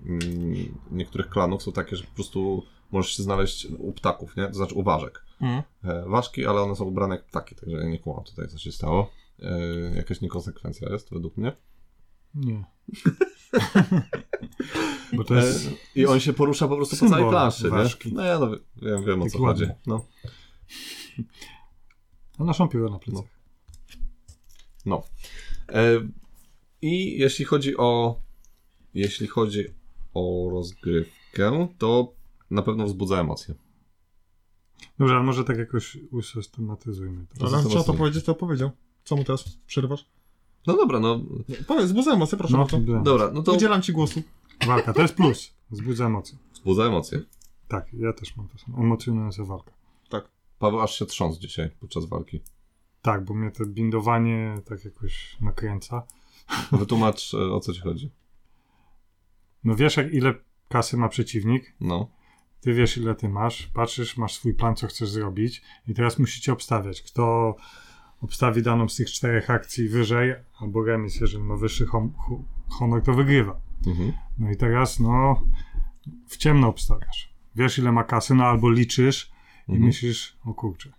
mm, niektórych klanów są takie, że po prostu możesz się znaleźć u ptaków, nie? To znaczy u ważek. Mhm. E, Ważki, ale one są ubrane jak ptaki, także ja nie kumam tutaj, co się stało. E, Jakaś niekonsekwencja jest według mnie. Nie. Bo to jest... E, I on się porusza po prostu po symbol całej planszy, ważki. nie? No ja no, wi- wiem, wiem o Taki co chodzi. ładny. No. A naszą piłę na plecach. no. E, I jeśli chodzi o jeśli chodzi o rozgrywkę, to na pewno wzbudza emocje. Dobrze, ale może tak jakoś usystematyzujmy to. Ale trzeba to mocno. powiedzieć, to powiedział. Co mu teraz przerywasz? No dobra, no Powiedz, zbudzę emocje, proszę No, bardzo. dobra. dobra, no to Udzielam ci głosu. Walka, to jest plus. Wzbudza emocje. wzbudza emocje. Tak, ja też mam to samo. Emocjonująca walka. Paweł aż się trząsł dzisiaj podczas walki. Tak, bo mnie to bindowanie tak jakoś nakręca. Wytłumacz e, o co ci chodzi. No wiesz, jak ile kasy ma przeciwnik, No. ty wiesz, ile ty masz, patrzysz, masz swój plan, co chcesz zrobić i teraz musicie obstawiać, kto obstawi daną z tych czterech akcji wyżej, albo remis, jeżeli ma wyższy hom- hu- honor, to wygrywa. Mhm. No i teraz, no, w ciemno obstawiasz. Wiesz, ile ma kasy, no albo liczysz i Mhm. myślisz, o kurczę,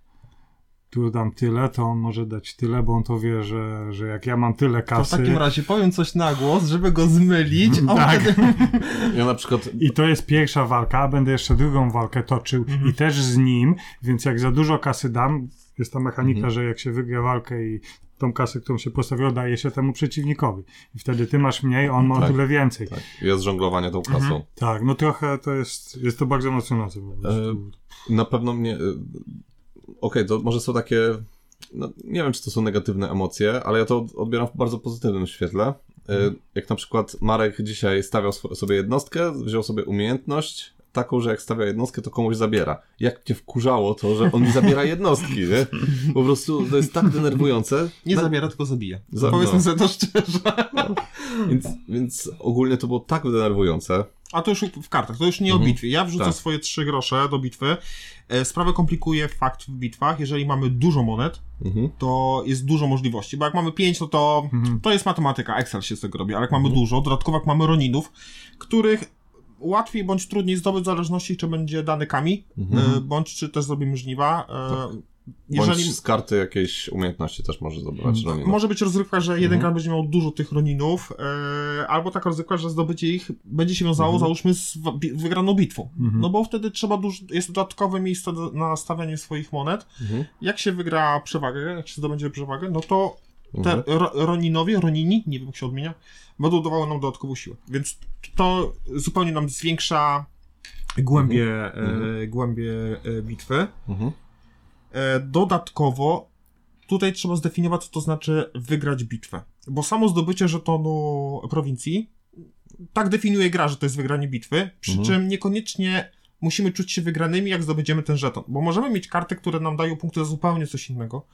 tu dam tyle, to on może dać tyle, bo on to wie, że, że jak ja mam tyle To w kasy... takim razie powiem coś na głos, żeby go zmylić, a Tak. wtedy... Ja na przykład I to jest pierwsza walka, a będę jeszcze drugą walkę toczył Mhm. i też z nim, więc jak za dużo kasy dam, jest ta mechanika, Mhm. że jak się wygra walkę i tą kasę, którą się postawiło, daje się temu przeciwnikowi. I wtedy ty masz mniej, on ma o Tak. tyle więcej. Tak. tak, jest żonglowanie tą kasą. no trochę to jest, jest to bardzo emocjonujące. po E, prostu. Mhm. Na pewno mnie. y, Okej, to może są takie. No, nie wiem, czy to są negatywne emocje, ale ja to od- odbieram w bardzo pozytywnym świetle. Y, Mhm. Jak na przykład Marek dzisiaj stawiał swo- sobie jednostkę, wziął sobie umiejętność taką, że jak stawia jednostkę, to komuś zabiera. Jak cię wkurzało to, że on mi zabiera jednostki, nie? Po prostu to jest tak denerwujące. Nie Na- zabiera, tylko zabija. No- Za- Powiedzmy no. sobie to szczerze. Więc, więc ogólnie to było tak denerwujące. A to już w kartach, to już nie o Mhm. bitwie. Ja wrzucę Tak. swoje trzy grosze do bitwy. E, Sprawę komplikuje fakt w bitwach. Jeżeli mamy dużo monet, Mhm. to jest dużo możliwości, bo jak mamy pięć, no to Mhm. to jest matematyka, Excel się z tego robi, ale jak mamy Mhm. dużo, dodatkowo jak mamy roninów, których łatwiej bądź trudniej zdobyć w zależności, czy będzie dany kami, Mhm. Tak. e, bądź czy też zrobimy żniwa. e, Bądź Jeżeli... Mm. z karty jakiejś umiejętności też może zabrać. no Mhm. Ronina. Może być rozrywka, że jeden Mhm. klan będzie miał dużo tych roninów, e, albo taka rozrywka, że zdobycie ich będzie się wiązało, Mhm. załóżmy, z wa- bi- wygraną bitwą. Mhm. No bo wtedy trzeba dużo, jest dodatkowe miejsce do, na stawianie swoich monet. Mhm. Jak się wygra przewagę, jak się zdobędzie przewagę, no to te Mhm. ro, Roninowie, Ronini, nie wiem jak się odmienia, będą dawały nam dodatkową siłę. Więc to zupełnie nam zwiększa głębie, e, głębie e, bitwy. Mhm. E, dodatkowo tutaj trzeba zdefiniować, co to znaczy wygrać bitwę. Bo samo zdobycie żetonu prowincji tak definiuje gra, że to jest wygranie bitwy, przy Mhm. czym niekoniecznie musimy czuć się wygranymi, jak zdobędziemy ten żeton. Bo możemy mieć karty, które nam dają punkty za zupełnie coś innego.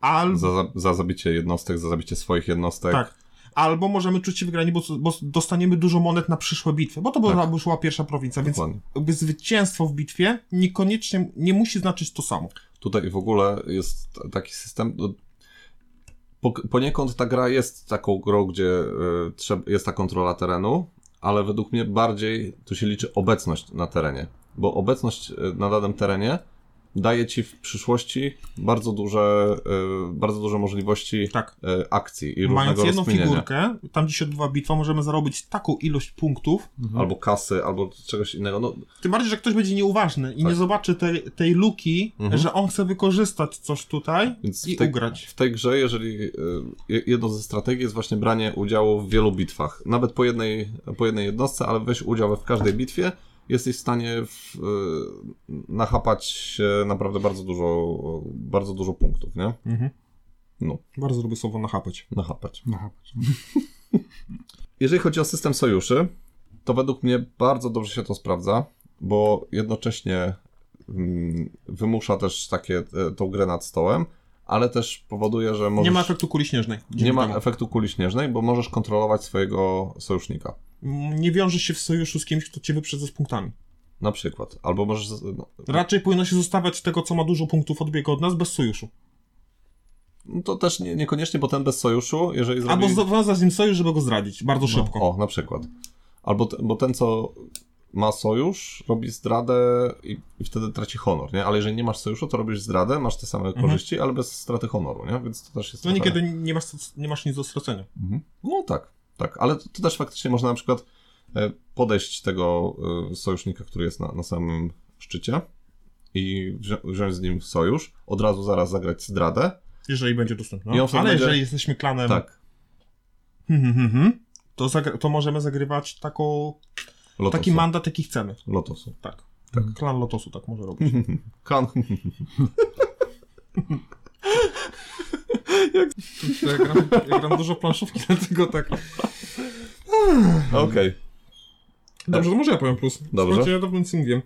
Albo Za, za, za zabicie jednostek, za zabicie swoich jednostek. Tak. Albo możemy czuć się wygrani, bo, bo dostaniemy dużo monet na przyszłe bitwy, bo to Tak. była, była pierwsza prowincja, więc Dokładnie. jakby zwycięstwo w bitwie niekoniecznie nie musi znaczyć to samo. Tutaj w ogóle jest t- taki system. no, Po, poniekąd ta gra jest taką grą, gdzie y, trzeb, jest ta kontrola terenu, ale według mnie bardziej tu się liczy obecność na terenie, bo obecność y, na danym terenie daje ci w przyszłości bardzo duże, y, bardzo duże możliwości Tak. y, akcji i Mając różnego jedną rozkminienia. figurkę, tam gdzie się odbywa bitwa, możemy zarobić taką ilość punktów, mhm. Albo kasy, albo czegoś innego. No, tym bardziej, że ktoś będzie nieuważny i Tak. nie zobaczy tej, tej luki, Mhm. że on chce wykorzystać coś tutaj Więc i w tej, ugrać. W tej grze, jeżeli y, je- jedną ze strategii jest właśnie branie udziału w wielu bitwach, nawet po jednej, po jednej jednostce, ale weź udział w każdej bitwie, jesteś w stanie w, y, nachapać e, naprawdę bardzo dużo, bardzo dużo punktów, nie? Mhm. No. Bardzo lubię słowo nachapać. Nachapać. Aha. Jeżeli chodzi o system sojuszy, to według mnie bardzo dobrze się to sprawdza, bo jednocześnie mm, wymusza też takie, e, tą grę nad stołem, ale też powoduje, że możesz... Nie ma efektu kuli śnieżnej. Nie Dzięki ma temu. efektu kuli śnieżnej, bo możesz kontrolować swojego sojusznika. Mm, nie wiąże się w sojuszu z kimś, kto cię wyprzedza z punktami. Na przykład. Albo możesz. z- No, Raczej powinno się zostawiać tego, co ma dużo punktów odbiegu od nas, bez sojuszu. No to też nie, niekoniecznie, bo ten bez sojuszu, jeżeli zrobi... No. Albo zawiązać z nim sojusz, żeby go zdradzić. Bardzo szybko. O, na przykład. Albo te, bo ten, co ma sojusz, robi zdradę i, i wtedy traci honor, nie? Ale jeżeli nie masz sojuszu, to robisz zdradę, masz te same korzyści, ale bez straty honoru, nie? Więc to też jest Mhm. No trochę- niekiedy nie masz, nie masz nic do stracenia. Mhm. No tak, tak. Ale to, to też faktycznie można na przykład e, podejść tego e, sojusznika, który jest na, na samym szczycie i wzią- wziąć z nim sojusz, od razu zaraz zagrać zdradę. Jeżeli będzie dostępna. I on Ale wtedy będzie- jeżeli jesteśmy klanem, Tak, mhm, mhm, mhm, to, zagra- to możemy zagrywać taką, lotosu. taki mandat, jaki chcemy. Lotosu. Tak. Hmm. Klan Lotosu tak może robić. Kan. Ja gram, ja gram dużo planszówki, dlatego tak. Okej. Dobrze, to może ja powiem plus. Dobrze. Słuchajcie, ja dawno nic nie wiem.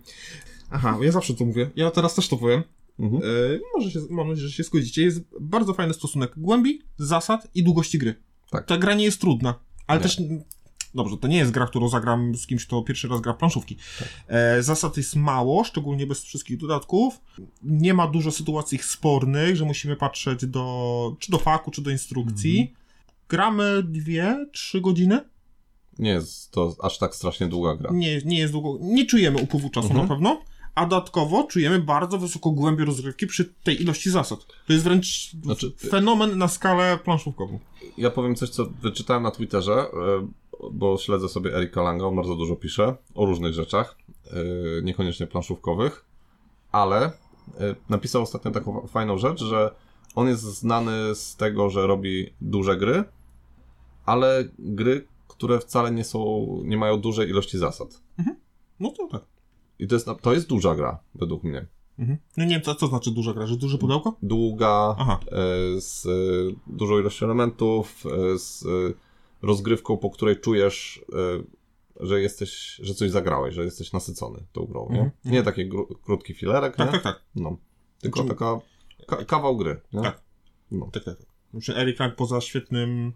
Aha, ja zawsze to mówię. Ja teraz też to powiem. Mhm. E, może się, mam nadzieję, że się zgodzicie. Jest bardzo fajny stosunek głębi, zasad i długości gry. Tak. Ta gra nie jest trudna, ale Nie. też... Dobrze, to nie jest gra, którą zagram z kimś, kto pierwszy raz gra w planszówki. Tak. E, zasad jest mało, szczególnie bez wszystkich dodatków. Nie ma dużo sytuacji spornych, że musimy patrzeć do, czy do faku, czy do instrukcji. Mhm. Gramy dwie, trzy godziny. Nie jest to aż tak strasznie długa gra. Nie, nie jest długo. Nie czujemy upływu czasu Mhm. na pewno. A dodatkowo czujemy bardzo wysoką głębię rozgrywki przy tej ilości zasad. To jest wręcz Znaczy- fenomen na skalę planszówkową. Ja powiem coś, co wyczytałem na Twitterze, e, bo śledzę sobie Erika Langa, on bardzo dużo pisze o różnych rzeczach, e, niekoniecznie planszówkowych, ale e, napisał ostatnio taką fa- fajną rzecz, że on jest znany z tego, że robi duże gry, ale gry, które wcale nie są, nie mają dużej ilości zasad. No to tak. I to jest, na- to jest duża gra, według mnie. Mhm. No nie wiem, co, co znaczy duża gra, że Mhm. duże pudełko? Długa, Aha. e, z e, dużą ilością elementów, e, z e, rozgrywką, po której czujesz, e, że jesteś, że coś zagrałeś, że jesteś nasycony tą grą, nie? Mhm, Nie taki gró- krótki filerek, Tak, nie? tak, tak. No. Tylko Znaczy- taka ka- kawał gry, nie? Tak. No, tak, tak, tak. Znaczy Eric Lang poza świetnym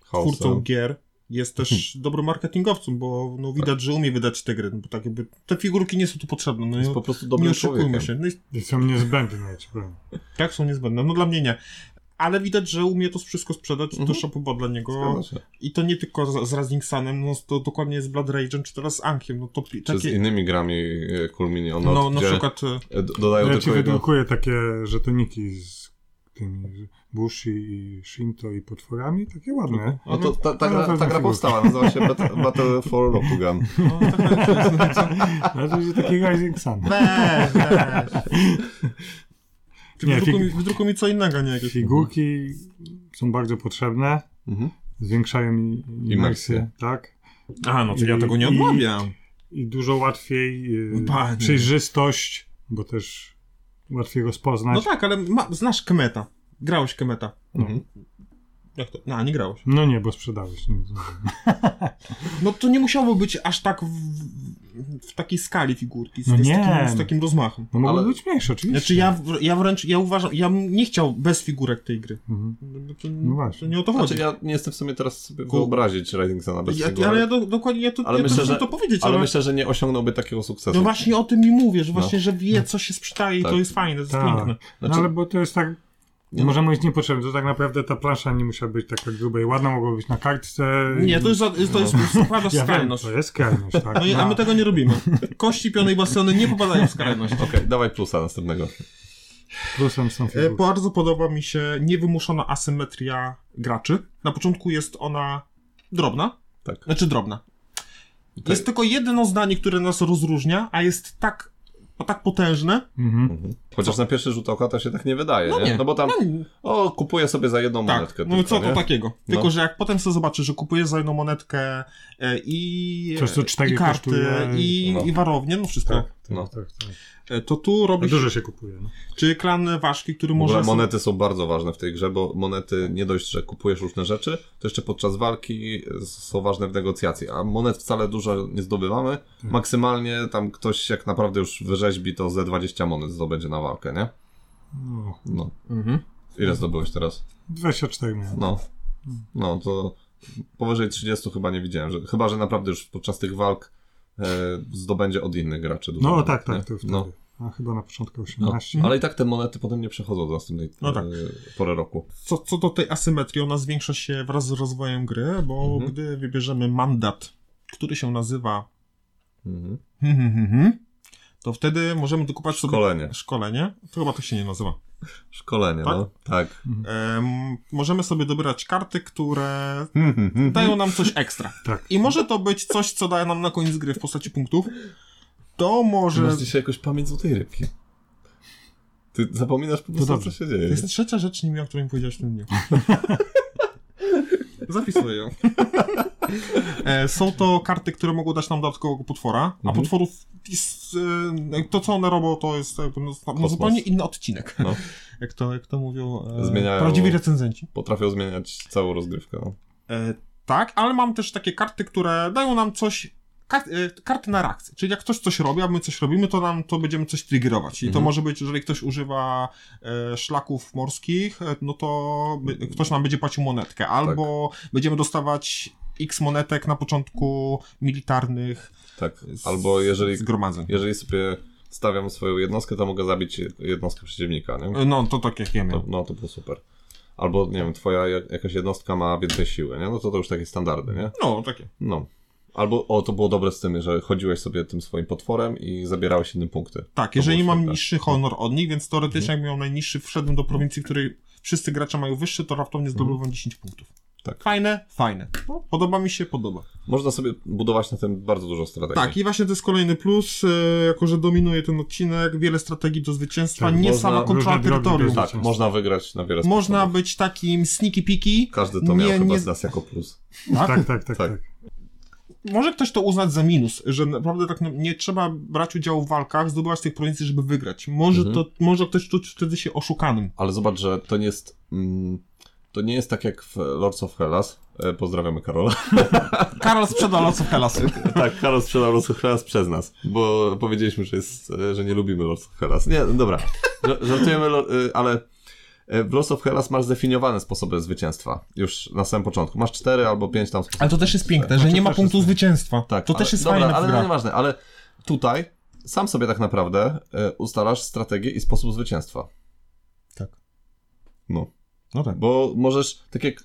twórcą chaosem. gier jest też Mhm. dobrym marketingowcem, bo no, widać, że umie wydać te gry. Bo tak jakby te figurki nie są tu potrzebne. No, Jest nie, po prostu nie dobrym człowiekiem. oszukujmy się. No, jest Jest są niezbędne, ja ci powiem. Tak, są niezbędne. No dla mnie nie. Ale widać, że umie to wszystko sprzedać, Mhm. to szapoba dla niego. Zgadza się. I to nie tylko z, z Rising Sunem, no to dokładnie z Blood Rage'em, czy teraz z Ankiem. No to pi- Czy z takie... innymi grami e, Kulmini on No, na gdzie przykład... e, e, d- dodają Ja ci tylko jedno... wydrukuję takie żetoniki z tymi Bushi i Shinto i potworami, takie ładne. No to ta, ta, No, gra, to ta gra figurki. powstała, nazywa się Bat- Battle for Rokugan. No, tak, tak, Ale to będzie taki Rising Sun. weź, weź. Ty Nie, wydrukuj, fig- mi, wydrukuj mi co innego, a nie jakieś... Figurki są bardzo potrzebne, Mhm. zwiększają mi imersję, Imersję. tak? A, no to ja Mm, I- tego nie i- odmawiam. I dużo łatwiej y, No Panie. przejrzystość, bo też łatwiej rozpoznać. No No, tak, ale ma, znasz Kemeta. Grałeś Kemeta. Mhm. Jak to? No, nie grałeś. nie, bo sprzedałeś. Nie, No to nie musiało być aż tak w, w takiej skali figurki, z, No z, nie. takim, z takim rozmachem. no mogły Ale- być mniejsze, oczywiście. Znaczy ja, w- ja wręcz, ja uważam, ja bym nie chciał bez figurek tej gry. Mhm. No To, No właśnie. to nie o to chodzi. Znaczy, ja nie jestem w sumie teraz sobie Ku- wyobrazić Rising Suna bez ja, tego, ale ja do, dokładnie, ja to, ale ja myślę, to chcę że- to powiedzieć, ale, ale myślę, że nie osiągnąłby takiego sukcesu. no właśnie o tym mi mówię, że No. właśnie, że wie co się sprzedaje i Tak. to jest fajne, to jest Tak. piękne. No Znaczy- ale bo to jest tak. Nie. no. Możemy iść niepotrzebnie, to tak naprawdę ta plansza nie musiała być taka gruba i ładna, mogła być na kartce. Nie, to jest, za- to jest naprawdę No. ja wiem, skrajność. to jest skrajność, tak. No i, a my tego nie robimy. Kości, piony i bastony nie popadają w skrajność. Okej, dawaj plusa następnego. Plusem są E, figurki. Bardzo podoba mi się niewymuszona asymetria graczy. Na początku jest ona drobna, Tak. znaczy drobna. Tutaj- Jest tylko jedno zdanie, które nas rozróżnia, a jest tak, tak potężne. Mhm. Mhm. Chociaż na pierwszy rzut oka to się tak nie wydaje, No nie? nie. No bo tam, No, nie, o, kupuję sobie za jedną tak, monetkę. no tylko, co to nie? takiego? No. Tylko, że jak potem sobie zobaczy, że kupuje za jedną monetkę e, i, Coś, co cztery i karty, kosztuje. i, No. i warownie, no wszystko, Tak, tak, No. tak, tak. E, to tu No robisz, Dużo się kupuje. No. czy klan Waszki, który W ogóle może... monety są bardzo ważne w tej grze, bo monety nie dość, że kupujesz różne rzeczy, to jeszcze podczas walki y, są ważne w negocjacji, a monet wcale dużo nie zdobywamy. Hmm. Maksymalnie tam ktoś jak naprawdę już wyrzeźbi, to ze 20 monet zdobędzie na walkę, nie? No. No. Mhm. Ile zdobyłeś teraz? 24 miałem. No. No to powyżej 30 chyba nie widziałem. Że, chyba, że naprawdę już podczas tych walk e, zdobędzie od innych graczy dużo. No monet, tak, nie? tak, to wtedy. No, a chyba na początku 18. ale i tak te monety potem nie przechodzą do następnej No tak. e, pory roku. Co, co do tej asymetrii, ona zwiększa się wraz z rozwojem gry, bo Mhm. gdy wybierzemy mandat, który się nazywa Mhm. Hmm, hmm, hmm, hmm. To wtedy możemy dokupować sobie Szkolenie. szkolenie. To chyba tak się nie nazywa. Szkolenie, Tak? no. Tak. Em, możemy sobie dobierać karty, które dają nam coś ekstra. Tak. I może to być coś, co daje nam na koniec gry w postaci punktów. To Że... może. Masz dzisiaj jakoś pamięć złotej rybki. Ty zapominasz po prostu, co dobrze. się To dzieje. jest trzecia rzecz, nie o której mi powiedziałeś w tym dniu. Zapisuję ją. E, Są to karty, które mogą dać nam dodatkowego potwora, a Mhm. potworów jest, e, to, co one robią, to jest jakby no, no, Kosmos. zupełnie inny odcinek. No. Jak, to, jak to mówią e, Zmieniają- prawdziwi recenzenci. Potrafią zmieniać całą rozgrywkę. No. E, tak, ale mam też takie karty, które dają nam coś. Kart, e, karty na reakcję. Czyli jak ktoś coś robi, a my coś robimy, to nam to będziemy coś triggerować. I to Mhm. może być, jeżeli ktoś używa e, szlaków morskich, e, no to by, ktoś nam będzie płacił monetkę. Albo Tak. będziemy dostawać x monetek na początku militarnych Tak. z- Albo jeżeli, zgromadzeń. jeżeli sobie stawiam swoją jednostkę, to mogę zabić jednostkę przeciwnika, nie? E, No, to tak jak ja To, miałem. no to było super. Albo, nie wiem, twoja jak- jakaś jednostka ma więcej siły, nie? No to to już takie standardy, nie? No, takie. No. Albo, o, to było dobre z tym, że chodziłeś sobie tym swoim potworem i zabierałeś innym punkty. Tak, jeżeli było mam świetne. Mhm. niższy honor od nich, więc teoretycznie jak miał najniższy, wszedłem do prowincji, w której wszyscy gracze mają wyższy, to raptownie zdobywam 10 punktów. Mhm. Tak. Fajne, fajne. No, podoba mi się, podoba. Można sobie budować na tym bardzo dużo strategii. Tak, i właśnie to jest kolejny plus, e, jako że dominuje ten odcinek, wiele strategii do zwycięstwa, Tak, nie można- sama kontrola różne drogi terytorium. Tak. do Tak, można wygrać na wiele Można sposobów. być takim sneaky peaky. Każdy to miał nie, chyba nie- z nas jako plus. Tak? Tak, tak, tak, Tak. tak. Może ktoś to uznać za minus, że naprawdę tak na- nie trzeba brać udziału w walkach, zdobywać tych prowincji, żeby wygrać. Może, Mhm. to, może ktoś czuć wtedy się oszukanym. Ale zobacz, że to nie jest... Mm, to nie jest tak jak w Lords of Hellas. E, pozdrawiamy Karola. Karol sprzedał Lots of Hellas. tak, Karol sprzedał Lords of Hellas przez nas, bo powiedzieliśmy, że, jest, e, że nie lubimy Lords of Hellas. Nie, dobra, Ża- żartujemy, lo- y, ale e, w Lords of Hellas masz zdefiniowane sposoby zwycięstwa już na samym początku. Masz cztery albo pięć tam sposobów. Ale to też jest piękne, że Znaczy, nie ma też punktu jest- zwycięstwa. Tak, to ale, też jest dobra, fajne w ale no grach. nieważne, ale tutaj sam sobie tak naprawdę e, ustalasz strategię i sposób zwycięstwa. Tak. No, No tak. bo możesz, tak jak e,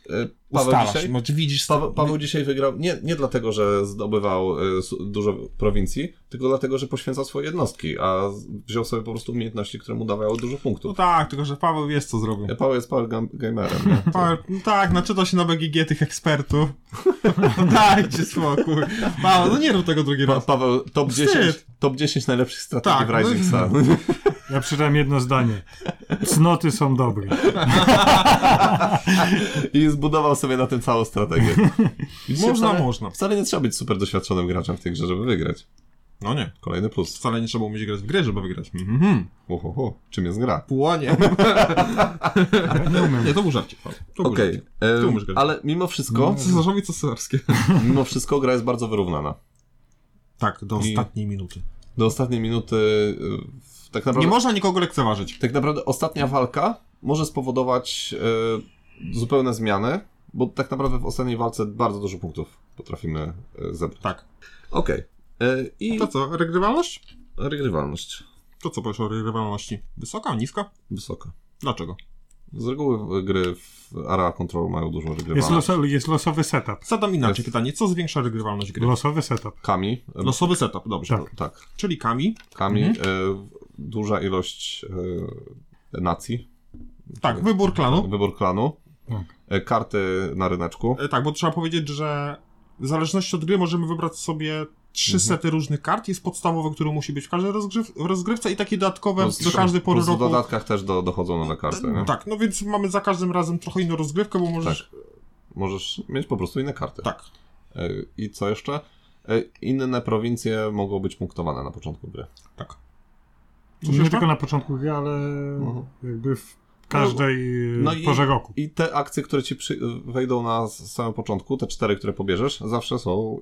Paweł Ustalasz, dzisiaj... no, czy widzisz... Paweł, Paweł dzisiaj wygrał nie, nie dlatego, że zdobywał y, su- dużo prowincji, tylko dlatego, że poświęcał swoje jednostki, a z- wziął sobie po prostu umiejętności, które mu dawały dużo No punktów. E, tak, tylko że Paweł wiesz co zrobił. Paweł jest power gam- gamerem. nie? Paweł, no tak, naczytał się na BGG tych ekspertów. No Dajcie spokój. Paweł, no nie rób tego drugi Pa, raz. Paweł, top Wstyd. 10, top 10 najlepszych strategii Tak, w Rising no Sun. Ja przeczytałem jedno zdanie. Cnoty są dobre. I zbudował sobie na tym całą strategię. Widzicie, Można, wcale, można. Wcale nie trzeba być super doświadczonym graczem w tej grze, żeby wygrać. No nie. Kolejny plus. Wcale nie trzeba umieć grać w grę, żeby wygrać. Mhm. Ho, ho, ho. Czym jest gra? Płonie. Ja nie umiem. Nie, to był żarcie, Paweł. To był Okej, żarcie. em, Ty umiesz grać. ale mimo wszystko, Cesarzowi cesarskie. mimo wszystko gra jest bardzo wyrównana. Tak, do I- ostatniej minuty. do ostatniej minuty. y, Tak Nie naprawdę, można nikogo lekceważyć. tak naprawdę ostatnia walka może spowodować y, zupełne zmiany, bo tak naprawdę w ostatniej walce bardzo dużo punktów potrafimy y, zebrać. Tak. Okej. Y, I To co, regrywalność? regrywalność To co powiesz o regrywalności? Wysoka, niska? wysoka. Dlaczego? Z reguły y, gry w Area Control mają dużą Jest, regrywalność. loso, jest losowy setup. Zadam inaczej Jest. pytanie, co zwiększa regrywalność gry? Losowy setup. Kami. y, Losowy setup, dobrze. Tak. Mhm. Tak. Czyli kami. Kami. y, Duża ilość y, nacji. Tak, wybór klanu. Wybór klanu. Tak. y, Karty na ryneczku. E, Tak, bo trzeba powiedzieć, że w zależności od gry możemy wybrać sobie trzy sety różnych kart. Jest podstawowy, który musi być w każdej rozgrzyw rozgrywce i takie dodatkowe do każdej pory plus roku. W dodatkach też do, dochodzą nowe karty. Nie? Tak, no więc mamy za każdym razem trochę inną rozgrywkę, bo możesz... Tak. Możesz mieć po prostu inne karty. Tak. E, I co jeszcze? E, Inne prowincje mogą być punktowane na początku gry. Coś nie jeszcze? tylko na początku gry, ale jakby w każdej Mhm. No no i- porze roku. I te akcje, które ci przy... wejdą na s- samym początku, te cztery, które pobierzesz, zawsze są.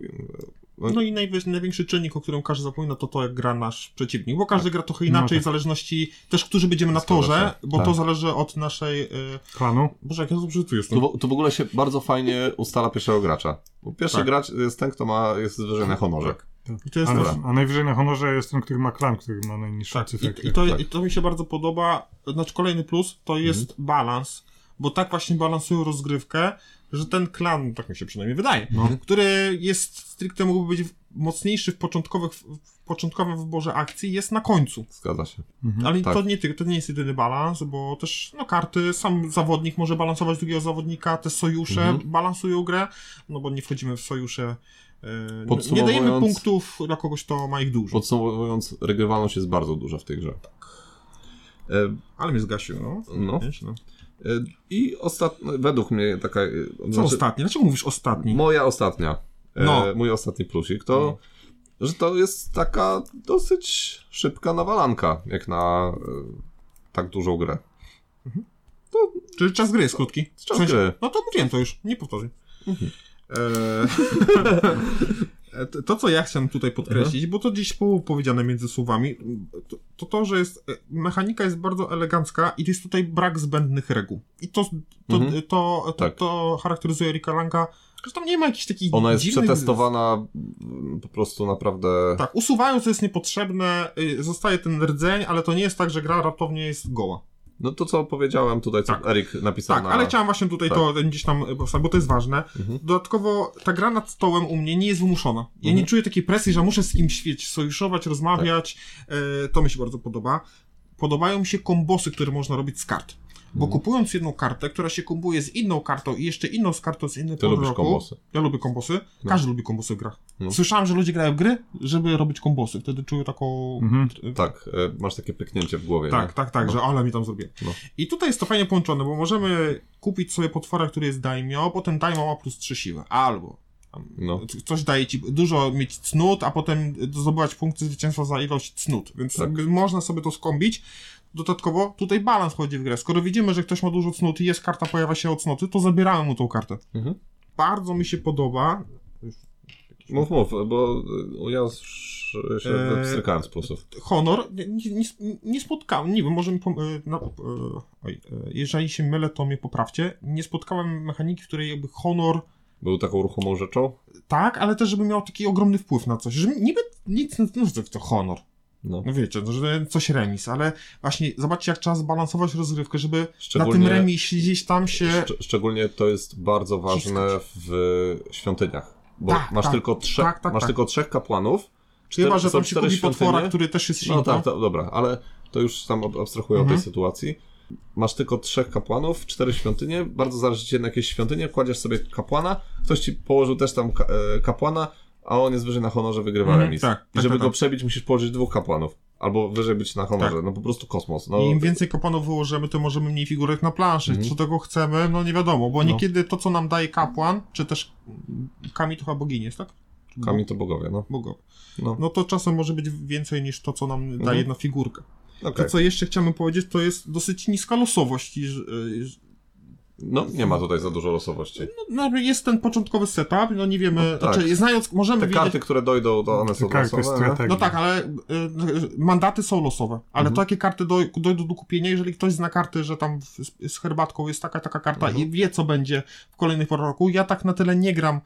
e, No i najwy- największy czynnik, o którym każdy zapomina, to to, jak gra nasz przeciwnik, bo każdy gra trochę No inaczej, tak. w zależności też, którzy będziemy na Zgadza torze, się. bo Tak. to zależy od naszej... y, Klanu. Boże, jak ja dobrze tu Tu, jestem. w- tu w ogóle się bardzo fajnie ustala pierwszego gracza. Bo pierwszy Tak. gracz jest ten, kto ma jest wyżej na honorze. Tak. Tak. I to jest a, też- a najwyżej na honorze jest ten, który ma klan, który ma najniższą Tak, cyferkę. i, i, to, tak. i to mi się bardzo podoba. Znaczy kolejny plus to jest balans, bo tak właśnie balansują rozgrywkę, że ten klan, tak mi się przynajmniej wydaje, który jest stricte mógłby być w- mocniejszy w, początkowych, w początkowym wyborze akcji, jest na końcu. Zgadza się. Mhm. Ale tak. to, nie, ty- to nie jest jedyny balans, bo też no, karty, sam zawodnik może balansować drugiego zawodnika, te sojusze Mhm. balansują grę, no bo nie wchodzimy w sojusze. e, nie- Nie Podsumowując- dajemy punktów dla kogoś, kto ma ich dużo. Podsumowując, regrywalność jest bardzo duża w tej grze. E, Ale mnie zgasił, no. no. Wiesz, no. E, I ostatnia, według mnie taka... e, Co znaczy- ostatni? Dlaczego mówisz ostatni? Moja ostatnia. No. Mm. E, mój ostatni plusik to, że to jest taka dosyć szybka nawalanka, jak na e, tak dużą grę. Czyli czas gry jest krótki. Czas gry. Mhm. No to mówiłem to już, nie powtórzę. Eee, to- to, co ja chciałem tutaj Mhm. podkreślić, bo to gdzieś było powiedziane między słowami, to to, to że jest, e, mechanika jest bardzo elegancka i jest tutaj brak zbędnych reguł. I to, to, Mhm. to, to, Tak. to charakteryzuje Rika Lanka, że tam nie ma jakichś takich Ona jest dziwnych... przetestowana m, po prostu naprawdę... Tak, usuwają co jest niepotrzebne, y, zostaje ten rdzeń, ale to nie jest tak, że gra raptownie jest goła. No to, co powiedziałem tutaj, co Tak. Erik napisał Tak, na... ale chciałem właśnie tutaj tak. to gdzieś tam, e, powsta- bo to jest ważne. Mhm. Dodatkowo ta gra nad stołem u mnie nie jest wymuszona. Ja Mhm. nie czuję takiej presji, że muszę z kimś świeć, sojuszować, rozmawiać. E, to mi się bardzo podoba. Podobają mi się kombosy, które można robić z kart. Mhm. Bo kupując jedną kartę, która się kombuje z inną kartą i jeszcze inną z kartą z innej Ty pory lubisz roku- kombosy. Ja lubię kombosy. No. Każdy lubi kombosy w grach. No. Słyszałem, że ludzie grają w gry, żeby robić kombosy. Wtedy czują taką Mhm. Tak, e, masz takie pyknięcie w głowie. tak, tak, tak, No. że ale mi tam zrobię. No. I tutaj jest to fajnie połączone, bo możemy kupić sobie potwora, który jest daimio, potem daimio ma plus 3 siły, albo tam Nie? No. c- coś daje ci dużo mieć cnót, a potem zdobywać punkty zwycięstwa za ilość cnót, więc Tak. jakby można sobie to skombić. Dodatkowo tutaj balans wchodzi w grę. Skoro widzimy, że ktoś ma dużo cnót i jest karta, pojawia się od cnoty, to zabieramy mu tą kartę. Mhm. Bardzo mi się podoba. Mów, mów, bo e, ja już się E, wstrykałem z plusów. Honor nie, nie, nie spotkałem, nie wiem, może mi pom- e, na, e, oj, e, jeżeli się mylę, to mnie poprawcie. Nie spotkałem mechaniki, w której jakby honor Był taką ruchomą rzeczą? tak, ale też żeby miał taki ogromny wpływ na coś, że niby nic nie no, że to honor. No. No wiecie, no, że coś remis, ale właśnie zobaczcie jak trzeba zbalansować rozgrywkę, żeby na Szczególnie- tym remisie gdzieś tam się... Szcz- szczególnie to jest bardzo ważne w świątyniach. Bo Tak, masz, tak. tylko, trzech, Tak, tak, masz tak. tylko trzech kapłanów. Chyba, cztery- że są tam się cztery kupi potwora, świątynie. który też jest No silny. tak, tak, dobra, ale to już tam ab- abstrahuję Mhm. od tej sytuacji. Masz tylko trzech kapłanów, cztery świątynie, bardzo zależy ci na jakieś świątynie, kładziesz sobie kapłana, ktoś ci położył też tam ka- e, kapłana, a on jest wyżej na honorze, wygrywa Mhm, remis. tak, I tak, żeby tak, go tak. przebić, musisz położyć dwóch kapłanów. Albo wyżej być na honorze, no po prostu kosmos. No, I im więcej kapłanów wyłożymy, to możemy mniej figurek na planszy. Mhm. Co tego chcemy, no nie wiadomo, bo No. niekiedy to, co nam daje kapłan, czy też kami to chyba bogini jest, tak? Czy Kamień to bogowie, no. bo- Bogowie. No. No. to czasem może być więcej niż to, co nam Mhm. daje jedna figurka. Okej. To, co jeszcze chciałbym powiedzieć, to jest dosyć niska losowość. I, ż- i, ż- no nie ma tutaj za dużo losowości. no, no, jest ten początkowy setup, no nie wiemy, tak. znaczy, znając, możemy Te wiedzieć... karty, które dojdą, to one Te są karty losowe, nie? strategii. No tak, ale y, y, mandaty są losowe, ale Mhm. takie karty doj- dojdą do kupienia, jeżeli ktoś zna karty, że tam w, z, z herbatką jest taka, taka karta Mhm. i wie, co będzie w kolejnych porach roku. Ja tak na tyle nie gram.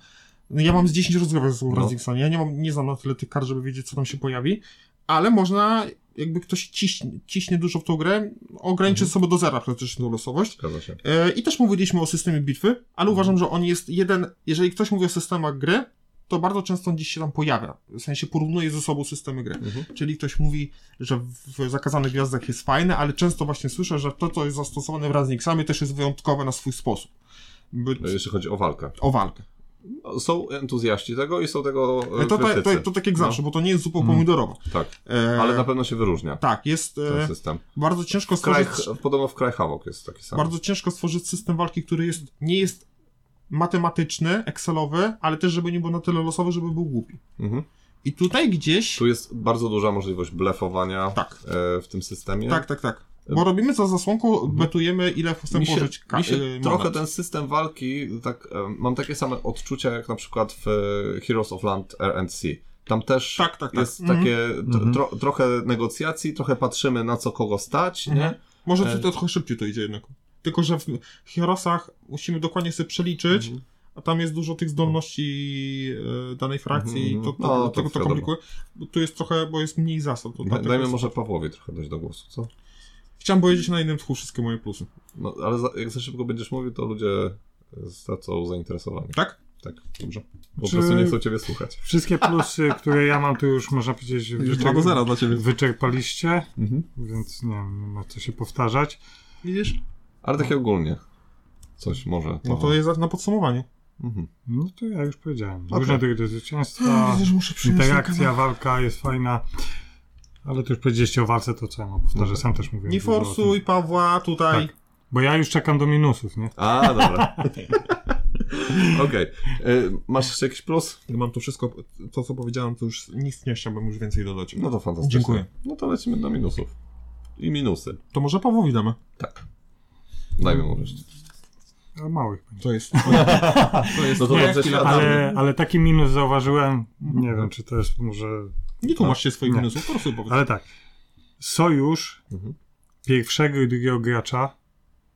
Ja mam z 10 rozgrywek z No. Razixon. Ja nie, mam, nie znam na tyle tych kart, żeby wiedzieć, co tam się pojawi, ale można, jakby ktoś ciśnie, ciśnie dużo w tą grę, ograniczyć Mhm. sobie do zera praktycznie losowość. Zgadza się. E, I też mówiliśmy o systemie bitwy, ale uważam, że on jest jeden. Jeżeli ktoś mówi o systemach gry, to bardzo często on gdzieś się tam pojawia. W sensie porównuje ze sobą systemy gry. Mhm. Czyli ktoś mówi, że w zakazanych gwiazdach jest fajne, ale często właśnie słyszę, że to, co jest zastosowane w Raznixami, też jest wyjątkowe na swój sposób. By... E, Jeśli chodzi o walkę. No, O walkę. Są entuzjaści tego i są tego e, To, to, krytycy. to, to tak jak No. zawsze, bo to nie jest zupa Mm. pomidorowa. Tak, E, ale na pewno się wyróżnia Tak, jest ten e, system. bardzo ciężko W Kraj, stworzyć... podobno w Kraj Havok jest taki sam. Bardzo ciężko stworzyć system walki, który jest, nie jest matematyczny, excelowy, ale też żeby nie był na tyle losowy, żeby był głupi. Mhm. I tutaj gdzieś... Tu jest bardzo duża możliwość blefowania Tak. e, w tym systemie. Tak, tak, tak. Bo robimy za zasłonką, betujemy ile chcemy mhm. Mi się, położyć ka- mi się y, trochę monet. ten system walki, tak, e, mam takie same odczucia jak na przykład w e, Heroes of Land RNC. Tam też Tak, tak, tak. jest Mhm. takie t- Mhm. tro, trochę negocjacji, trochę patrzymy na co kogo stać, Mhm. nie? Może e, Mhm. to trochę szybciej to idzie jednak. Tylko, że w Heroesach musimy dokładnie sobie przeliczyć, a tam jest dużo tych zdolności e, danej frakcji Mhm, i to, to, no, no, tak tego to wiadomo. komplikuje. Bo tu jest trochę, bo jest mniej zasad. To Da, dlatego dajmy jest... może Pawłowi trochę dojść do głosu, co? Chciałem powiedzieć na innym tchu wszystkie moje plusy. No, ale za, jak za szybko będziesz mówił, to ludzie stracą zainteresowanie. Tak? Tak, dobrze. Po Czy- prostu nie chcą ciebie słuchać. Wszystkie plusy, które ja mam, to już można powiedzieć wyczer- Czego zaraz dla ciebie. wyczerpaliście, Mhm. więc nie, wiem, nie ma co się powtarzać. Widzisz? Ale takie ogólnie. Coś może. No to jest na podsumowanie. Mhm. No to ja już powiedziałem. Okej. Różne drogi do zwycięstwa, Widzę, że muszę przyjąć interakcja, walka jest fajna, ale to już powiedzieliście o walce, to co ja mam powtarzać, sam też mówiłem. Nie dużo o tym. forsuj Pawła tutaj. Bo ja już czekam do minusów, nie? A, dobra. Okej. E, Masz jeszcze jakiś plus? Ja mam to wszystko, to co powiedziałem, to już nic nie chciałbym już więcej dodać. No to fantastycznie. Dziękuję. No to lecimy do minusów. I minusy. To może Pawłowi damy. Tak. Dajmy mu resztę. A małych będzie. To jest. To jest no to Nie, dobrze chwila, świadamy. Ale, ale taki minus zauważyłem, nie wiem czy to jest może... Nie tłumacz się swoich Nie. minusów, po prostu powiedz. Ale tak, sojusz Mhm. pierwszego i drugiego gracza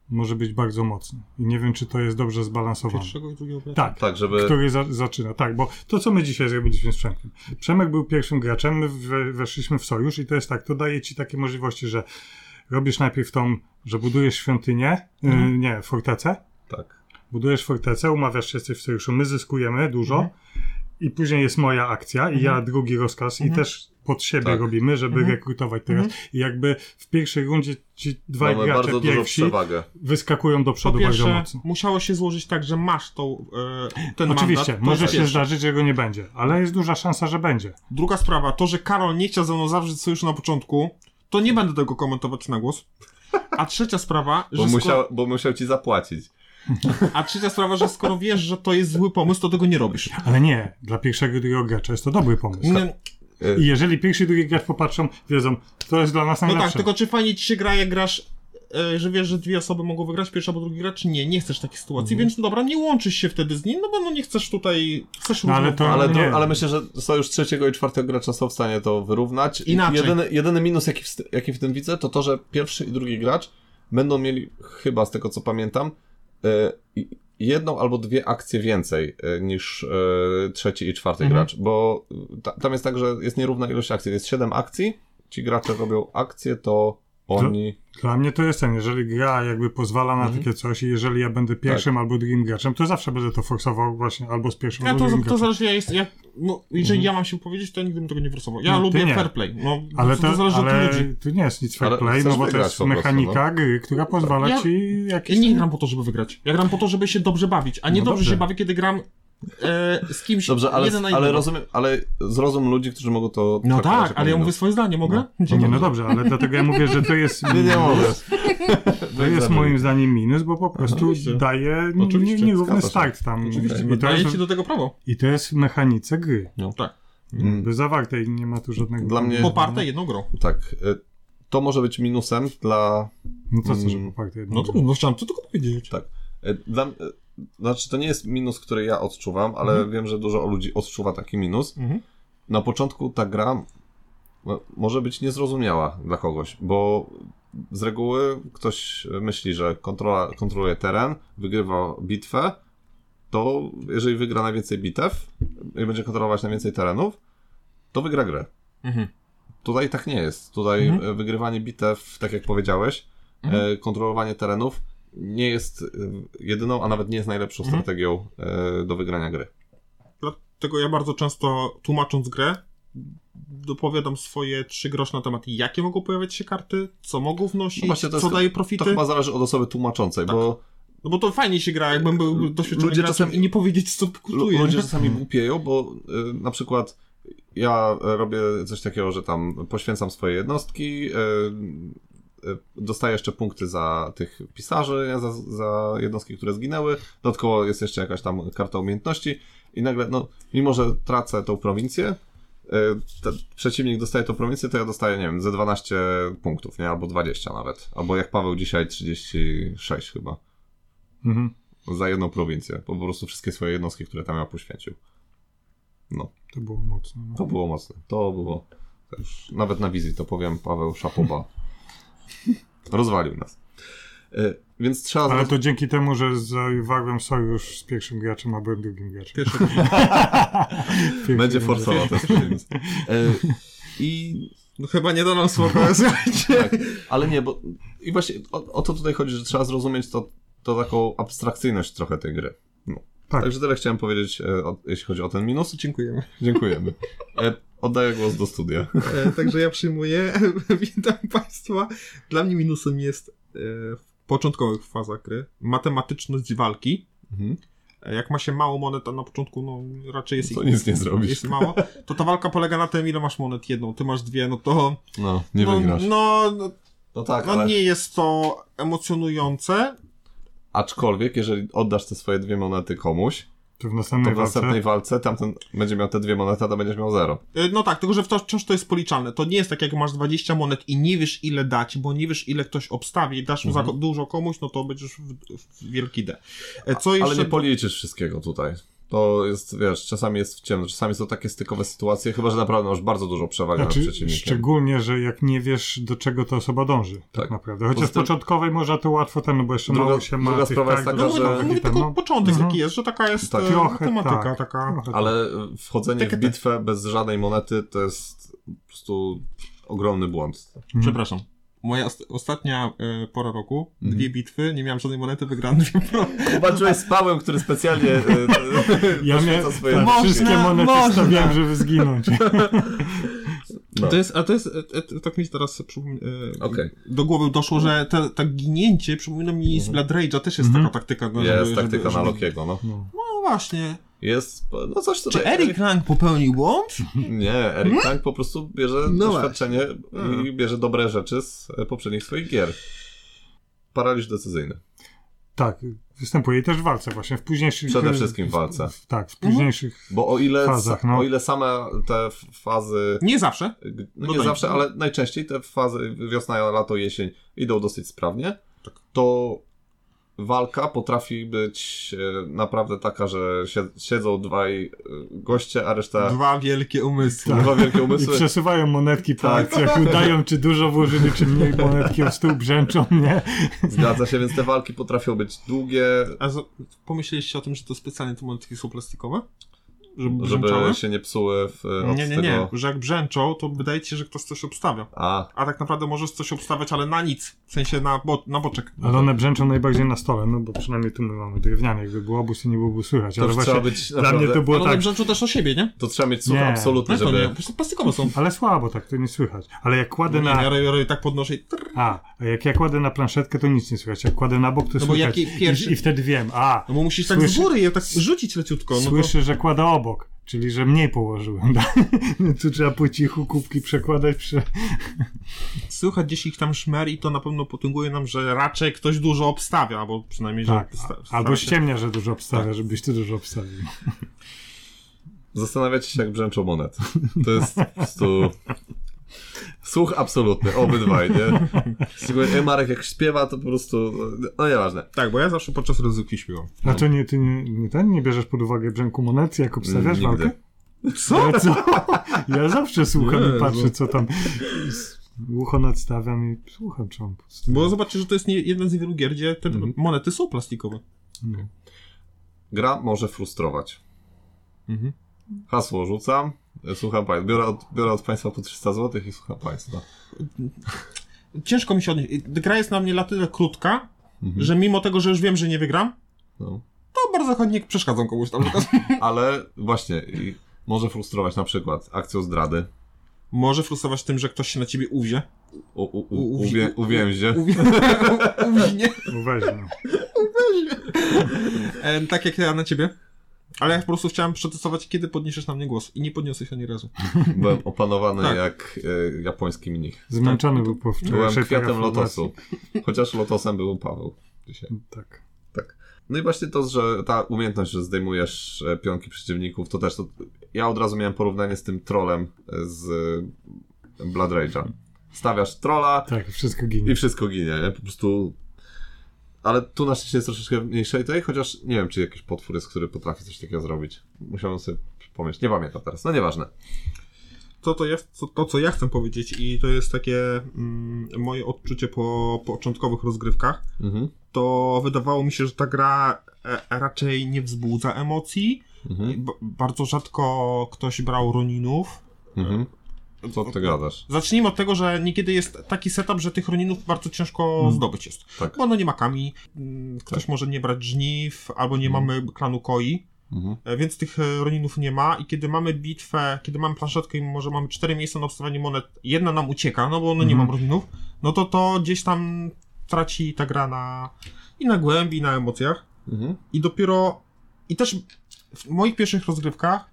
może być bardzo mocny. I nie wiem czy to jest dobrze zbalansowane. Pierwszego i drugiego Tak, Tak, żeby... który za zaczyna. Tak, bo to, co my dzisiaj zrobiliśmy z Przemkiem. Przemek był pierwszym graczem, my we weszliśmy w sojusz i to jest tak, to daje ci takie możliwości, że robisz najpierw tą, że budujesz świątynię, y, Mhm. nie, fortecę, Tak. budujesz fortecę, umawiasz się, jesteś w sojuszu, my zyskujemy dużo Mhm. i później jest moja akcja i ja drugi rozkaz i też pod siebie Tak. robimy, żeby Mhm. rekrutować teraz. I jakby w pierwszej rundzie ci dwaj Mamy bardzo gracze dużą pierwsi przewagę. wyskakują do Po przodu bardzo pierwsze, mocno. musiało się złożyć tak, że masz tą, e, ten Oczywiście, mandat. To może jest się pierwsze. zdarzyć, że go nie będzie, ale jest duża szansa, że będzie. Druga sprawa, to, że Karol nie chciał ze mną zawrzeć sojuszu na początku, to nie będę tego komentować na głos. A trzecia sprawa, Bo że skoro, musiał, bo musiał ci zapłacić. a trzecia sprawa, że skoro wiesz, że to jest zły pomysł, to tego nie robisz. Ale nie, dla pierwszego i drugiego gracza jest to dobry pomysł. Nie, E, I jeżeli pierwszy i drugi gracz popatrzą, wiedzą, to jest dla nas No najlepsze. tak, tylko czy fajnie ci się gra, jak grasz, e, że wiesz, że dwie osoby mogą wygrać, pierwszy albo drugi gracz? Nie, nie chcesz takiej Mhm. sytuacji, więc no dobra, nie łączysz się wtedy z nim, no bo no nie chcesz tutaj, chcesz No ale równo- to- Ale, to, nie. ale myślę, że sojusz trzeciego i czwartego gracza są w stanie to wyrównać. I Inaczej. Jedyny, jedyny minus, jaki w, st- jaki w tym widzę, to to, że pierwszy i drugi gracz będą mieli, chyba z tego co pamiętam, e, i- jedną albo dwie akcje więcej e, niż e, trzeci i czwarty Mhm. gracz, bo ta, tam jest tak, że jest nierówna ilość akcji. Jest siedem akcji, ci gracze robią akcje, to oni... Dla mnie to jest ten, jeżeli gra jakby pozwala Mhm. na takie coś i jeżeli ja będę pierwszym Tak. albo drugim graczem, to zawsze będę to forsował właśnie albo z pierwszym, Ja albo to, drugim to graczem. zależy, ja jest, ja, no, jeżeli ja mam się powiedzieć, to ja nigdy bym tego nie forsował. Ja Mhm. No, ty lubię nie. fair play, no, Ale to, to, zależy ale od ludzi. tu nie jest nic Ale fair play, chcesz no bo to wygrać jest po prostu, mechanika gry, która pozwala no? Ja- ci Ja jakieś... nie gram po to, żeby wygrać. Ja gram po to, żeby się dobrze bawić, a nie No dobrze, dobrze. się bawię, kiedy gram e, z kimś Dobrze, ale, jeden na ale jednego. rozumiem, ale zrozum ludzi, którzy mogą to... No traktować tak, jako ale ja minus. mówię swoje zdanie, mogę? Nie, no dobrze, ale dlatego ja mówię, że to jest... Nie, nie mogę. To jest moim zdaniem minus, bo po prostu Oczywiście. daje Oczywiście, nie- nierówny zgadza się. start tam. Oczywiście, I to, daję jest, ci do tego prawo. I to jest w mechanice gry. Tak. Mm. By zawarte i nie ma tu żadnego. no. Dla mnie- Poparte jedną grą. Tak. y, To może być minusem dla. No to co, że Mm. poparte jedno. No to no, chciałem to tylko powiedzieć. Tak. y, dla y, znaczy, to nie jest minus, który ja odczuwam, ale wiem, że dużo ludzi odczuwa taki minus. Mhm. Na początku ta gra no, może być niezrozumiała dla kogoś, bo z reguły ktoś myśli, że kontrola, kontroluje teren, wygrywa bitwę. To jeżeli wygra najwięcej bitew i będzie kontrolować najwięcej terenów, to wygra grę. Mhm. Tutaj tak nie jest. Tutaj e, wygrywanie bitew, tak jak powiedziałeś, e, kontrolowanie terenów nie jest e, jedyną, a nawet nie jest najlepszą strategią e, do wygrania gry. Dlatego ja bardzo często tłumacząc grę, dopowiadam swoje trzy grosze na temat, jakie mogą pojawiać się karty, co mogą wnosić, No właśnie, to co jest- daje To profity. chyba zależy od osoby tłumaczącej, bo No bo to fajnie się gra, jakbym był doświadczony Ludzie graczem czasem- i nie powiedzieć, co lu- kutuje. ludzie czasami głupieją, bo e, na przykład ja e, robię coś takiego, że tam poświęcam swoje jednostki, e, e, dostaję jeszcze punkty za tych pisarzy, nie, za, za jednostki, które zginęły, dodatkowo jest jeszcze jakaś tam karta umiejętności i nagle, no, mimo że tracę tą prowincję, e, ten przeciwnik dostaje tą prowincję, to ja dostaję, nie wiem, ze 12 punktów, nie? Albo 20 nawet. Albo jak Paweł dzisiaj 36 chyba. Mhm. Za jedną prowincję. Po prostu wszystkie swoje jednostki, które tam ja poświęcił. To było mocno. no. To było mocne. To było. to Już nawet na wizji to powiem Paweł Szapoba. Rozwalił nas. E, Więc trzeba... Ale zrozumieć- to dzięki temu, że zawarłem sojusz z pierwszym graczem, a byłem drugim graczem. Pierwszy- Pierwszy Będzie graczem. forsował też. I No chyba nie do nam słowa, słuchajcie. tak, ale nie, bo i właśnie o, o to tutaj chodzi, że trzeba zrozumieć to, to taką abstrakcyjność trochę tej gry. No. Tak. Także tyle chciałem powiedzieć, e, o, jeśli chodzi o ten minus. Dziękujemy. Dziękujemy. E, oddaję głos do studia. E, także ja przyjmuję. Witam Państwa. Dla mnie minusem jest e, w początkowych fazach gry matematyczność walki. Mhm. E, Jak ma się mało monet, a na początku no, raczej jest To nic nie zrobisz. Jest mało. To ta walka polega na tym, ile masz monet. Jedną, ty masz dwie, no to. No, nie no, wygrasz. no, no, No tak, no ale nie jest to emocjonujące. aczkolwiek, jeżeli oddasz te swoje dwie monety komuś, To w to następnej w walce. następnej walce tamten będzie miał te dwie monety, a to będziesz miał zero. E, No tak, tylko że to, wciąż to jest policzalne. To nie jest tak, jak masz 20 monet i nie wiesz ile dać, bo nie wiesz ile ktoś obstawi i dasz mu za Mhm. dużo komuś, no to będziesz w, w wielki D. E, No Co jeszcze... Ale nie policzysz wszystkiego tutaj. To jest, wiesz, czasami jest w ciemno, czasami są takie stykowe sytuacje, chyba że naprawdę masz bardzo dużo przewagi nad Znaczy, przeciwnikiem. szczególnie, że jak nie wiesz, do czego ta osoba dąży, tak, Tak. naprawdę. Chociaż Poza w tym- początkowej może to łatwo ten, no bo jeszcze Druga- mało się ma druga tych sprawa jest kart taka, No do mówię, że- no, zagrania mówię i tam, tylko no. początek Mhm. jaki jest, że taka jest Tak. e, Trochę matematyka tak. taka. Trochę tak. Ale e, wchodzenie Takie w te- bitwę bez żadnej monety to jest po prostu ogromny błąd. Mhm. Przepraszam. Moja ost- ostatnia e, pora roku, Mhm. dwie bitwy, nie miałem żadnej monety, wygrałem dwie pro. Walczyłeś z Pawłem, który specjalnie y, y, Ja poświęca miałem swoje... tak, Można, wszystkie monety można. stawiałem, żeby zginąć. No. To jest, a to jest, e, e, tak mi teraz przypomina, e, Okej. do głowy doszło, że te- to ginięcie przypomina mi z Blood Rage'a, też jest Mhm. taka taktyka. No, Jest taktyka na Lokiego, no. No. No właśnie. Jest, no coś tutaj... Czy Eric Lang popełnił błąd? Nie, Eric Tank po prostu bierze No doświadczenie i Mhm. bierze dobre rzeczy z e, poprzednich swoich gier. Paraliż decyzyjny. Tak, występuje i też w walce właśnie, w późniejszych... Przede wszystkim w walce. w- Tak, w późniejszych... Bo o ile, Fazach, no. o ile same te f- fazy, Nie zawsze. no nie Dodaj. zawsze, ale najczęściej te fazy wiosna, lato, jesień idą dosyć sprawnie, to walka potrafi być e, naprawdę taka, że sie- siedzą dwaj e, goście, a reszta Dwa wielkie umysły. dwa wielkie I umysły. przesuwają monetki po Mhm. Tak. akcjach, udają czy dużo włożyli, czy mniej monetki o stół brzęczą, nie? Zgadza się, więc te walki potrafią być długie, A z- pomyśleliście o tym, że to specjalnie te monetki są plastikowe? Żeby brzęczały? żeby się nie psuły w, e, od Nie, nie, tego... nie. Że jak brzęczą, to wydaje ci się, że ktoś coś obstawia. A, A tak naprawdę możesz coś obstawiać, ale na nic. W sensie na, bo na boczek. Ale one brzęczą najbardziej na stole, no bo przynajmniej tu my mamy drewniane, jakby było obóz i nie byłoby słychać, to ale już właśnie... trzeba być Dla naprawdę... mnie to było ale one tak, brzęczą też o siebie, nie? To trzeba mieć słuch Nie. absolutny, No to nie, żeby... po prostu plastikowe są. ale słabo tak, to nie słychać. Ale jak Nie, kładę nie, na... ja, ja, ja tak podnoszę i... trrr. A, a jak ja kładę na planszetkę, to nic nie słychać. Jak kładę na bok, to No bo słychać. jaki pierwszy- I, I wtedy wiem, a, No bo musisz tak Słyszy- z góry je tak rzucić leciutko. No to... słyszę, że kłada obok. Czyli, że mniej położyłem. tak? tu trzeba po cichu kubki przekładać. Prze... Słychać gdzieś ich tam szmer i to na pewno potęguje nam, że raczej ktoś dużo obstawia, albo przynajmniej, Tak. że... sta- a- Albo stara się. ściemnia, że dużo obstawia, Tak. żebyś ty dużo obstawił. Zastanawiacie się, jak brzęczą monet. To jest po prostu... Słuch absolutny, obydwaj, nie? Szczególnie e, Marek jak śpiewa, to po prostu... No nieważne. Tak, bo ja zawsze podczas rozrywki śpiewam. Tak. A to nie, ty nie, nie, ten, nie bierzesz pod uwagę brzęku monet, jak obstawiasz Nigdy. walkę? Co? Ja, co? ja zawsze słucham Jezu. i no. patrzę, co tam. Ucho nadstawiam i słucham, czy on podstawia. Bo zobaczcie, że to jest nie, jeden z niewielu gier, gdzie te Mhm. monety są plastikowe. No. Gra może frustrować. Mhm. Hasło rzucam, e, słucham państwa. Biorę od, biorę od państwa po 300 zł i słucham państwa. Ciężko mi się odnieść. Gra jest na mnie na tyle krótka, Mhm. że mimo tego, że już wiem, że nie wygram, No. to bardzo chętnie przeszkadzam komuś tam. Ale właśnie, i może frustrować na przykład akcją zdrady. Może frustrować tym, że ktoś się na ciebie uwzie. U, u, U- u, uwi- uwię, uwięzie. Uwi- Uwinie. Uważaj, no. E, tak jak ja na ciebie. Ale ja po prostu chciałem przetestować, kiedy podniesiesz na mnie głos. I nie podniosłeś ani razu. Byłem opanowany Tak. jak e, japoński mnich. Zmęczony był po Byłem wczorajszej kwiatem terraformacji. lotosu. Chociaż lotosem był Paweł dzisiaj. Tak. No i właśnie to, że ta umiejętność, że zdejmujesz e, pionki przeciwników, to też to... Ja od razu miałem porównanie z tym trolem e, z e, Blood Rage'a. Stawiasz trola Tak, wszystko i ginie. wszystko ginie, nie? Po prostu... Ale tu na szczęście jest troszeczkę mniejszej tej, chociaż nie wiem, czy jakiś potwór jest, który potrafi coś takiego zrobić. Musiałem sobie przypomnieć. Nie pamiętam teraz. No nieważne. to, to, jest, to, to, co ja chcę powiedzieć i to jest takie mm, moje odczucie po początkowych rozgrywkach, Mhm. to wydawało mi się, że ta gra e, raczej nie wzbudza emocji. Mhm. B- bardzo rzadko ktoś brał Roninów. Mhm. Co ty gadasz? Zacznijmy od tego, że niekiedy jest taki setup, że tych Roninów bardzo ciężko zdobyć jest. Tak. Bo no nie ma kami, mm, ktoś może nie brać żniw, albo nie mamy klanu koi. Mhm. E, więc tych e, Roninów nie ma i kiedy mamy bitwę, kiedy mamy planszetkę i może mamy cztery miejsca na obstawianie monet, jedna nam ucieka, no bo no nie Mhm. mam Roninów, no to to gdzieś tam traci ta gra na, i na głębi, i na emocjach. Mhm. I dopiero, i też w moich pierwszych rozgrywkach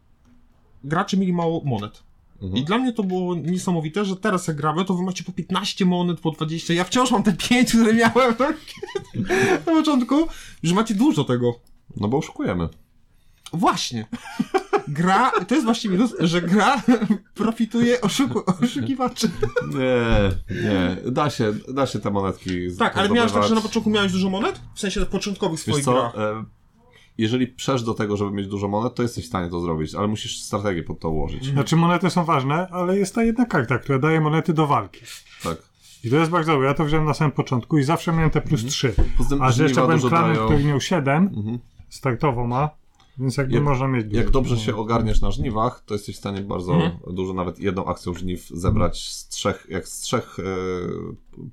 gracze mieli mało monet. I Mhm. dla mnie to było niesamowite, że teraz jak gramy, to wy macie po 15 monet, po 20, ja wciąż mam te 5, które miałem tak? na początku, że macie dużo tego. No bo oszukujemy. Właśnie. Gra, to jest właśnie minus, że gra profituje oszuku, oszukiwaczy. Nie, nie. Da się, da się te monetki Tak, ale miałeś tak, zdobywać. że na początku miałeś dużo monet? W sensie początkowych Wiesz swoich co, grach. e, jeżeli przesz do tego, żeby mieć dużo monet, to jesteś w stanie to zrobić, ale musisz strategię pod to Mhm. ułożyć. Znaczy monety są ważne, ale jest ta jedna karta, która daje monety do walki. Tak. I to jest bardzo dobre. Ja to wziąłem na samym początku i zawsze miałem te Mhm. plus 3. Poza tym A że jeszcze żniwa byłem dużo klanem, dają. który miał 7, Mhm. startowo ma, więc jakby Jak- można mieć dużo. Jak dobrze się ogarniesz na żniwach, to jesteś w stanie bardzo Mhm. dużo, nawet jedną akcją żniw zebrać z trzech, jak z trzech e,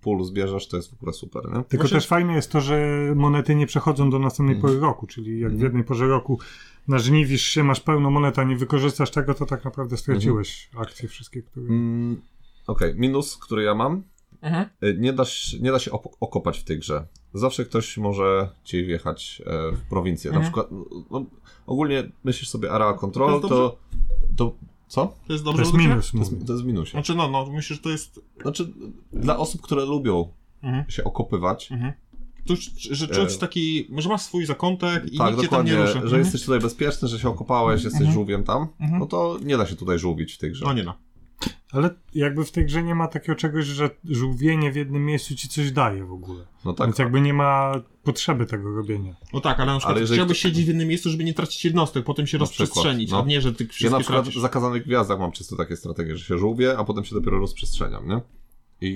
pól zbierzesz, to jest w ogóle super, nie? Tylko Właśnie- też fajne jest to, że monety nie przechodzą do następnej Mhm. pory roku, czyli jak w jednej porze roku nażniwisz się, masz pełno monet, a nie wykorzystasz tego, to tak naprawdę straciłeś Mhm. akcje wszystkie, które... Mm, Okej, minus, który ja mam, Mhm. E, nie da, się, nie da się op- okopać w tej grze. Zawsze ktoś może ci wjechać e, w prowincję. Na Mhm. przykład, no, ogóle myślisz sobie area control, To to, jest dobrze? to, co? To jest To dobrze według jest ciebie? minus, To jest, mówię. to jest w minusie. Znaczy no, no, myślę, że to jest... Znaczy, dla osób, które lubią Mhm. się okopywać, Mhm. To już, że czuć E. taki, że masz swój zakątek i nikt cię tak, tam dokładnie, nie ruszy. że Mhm. jesteś tutaj bezpieczny, że się okopałeś, jesteś Mhm. żółwiem tam, Mhm. no to nie da się tutaj żółwić w tej grze. No nie da. Ale jakby w tej grze nie ma takiego czegoś, że żółwienie w jednym miejscu ci coś daje w ogóle. No tak, Więc jakby nie ma potrzeby tego robienia. No tak, ale na przykład Ale jeżeli chciałbyś kto- siedzieć w jednym miejscu, żeby nie tracić jednostek, potem się Na przykład, rozprzestrzenić, no. a nie, że ty wszystkie Ja na przykład tracisz. w zakazanych gwiazdach mam często takie strategie, że się żółwię, a potem się dopiero rozprzestrzeniam, nie? I,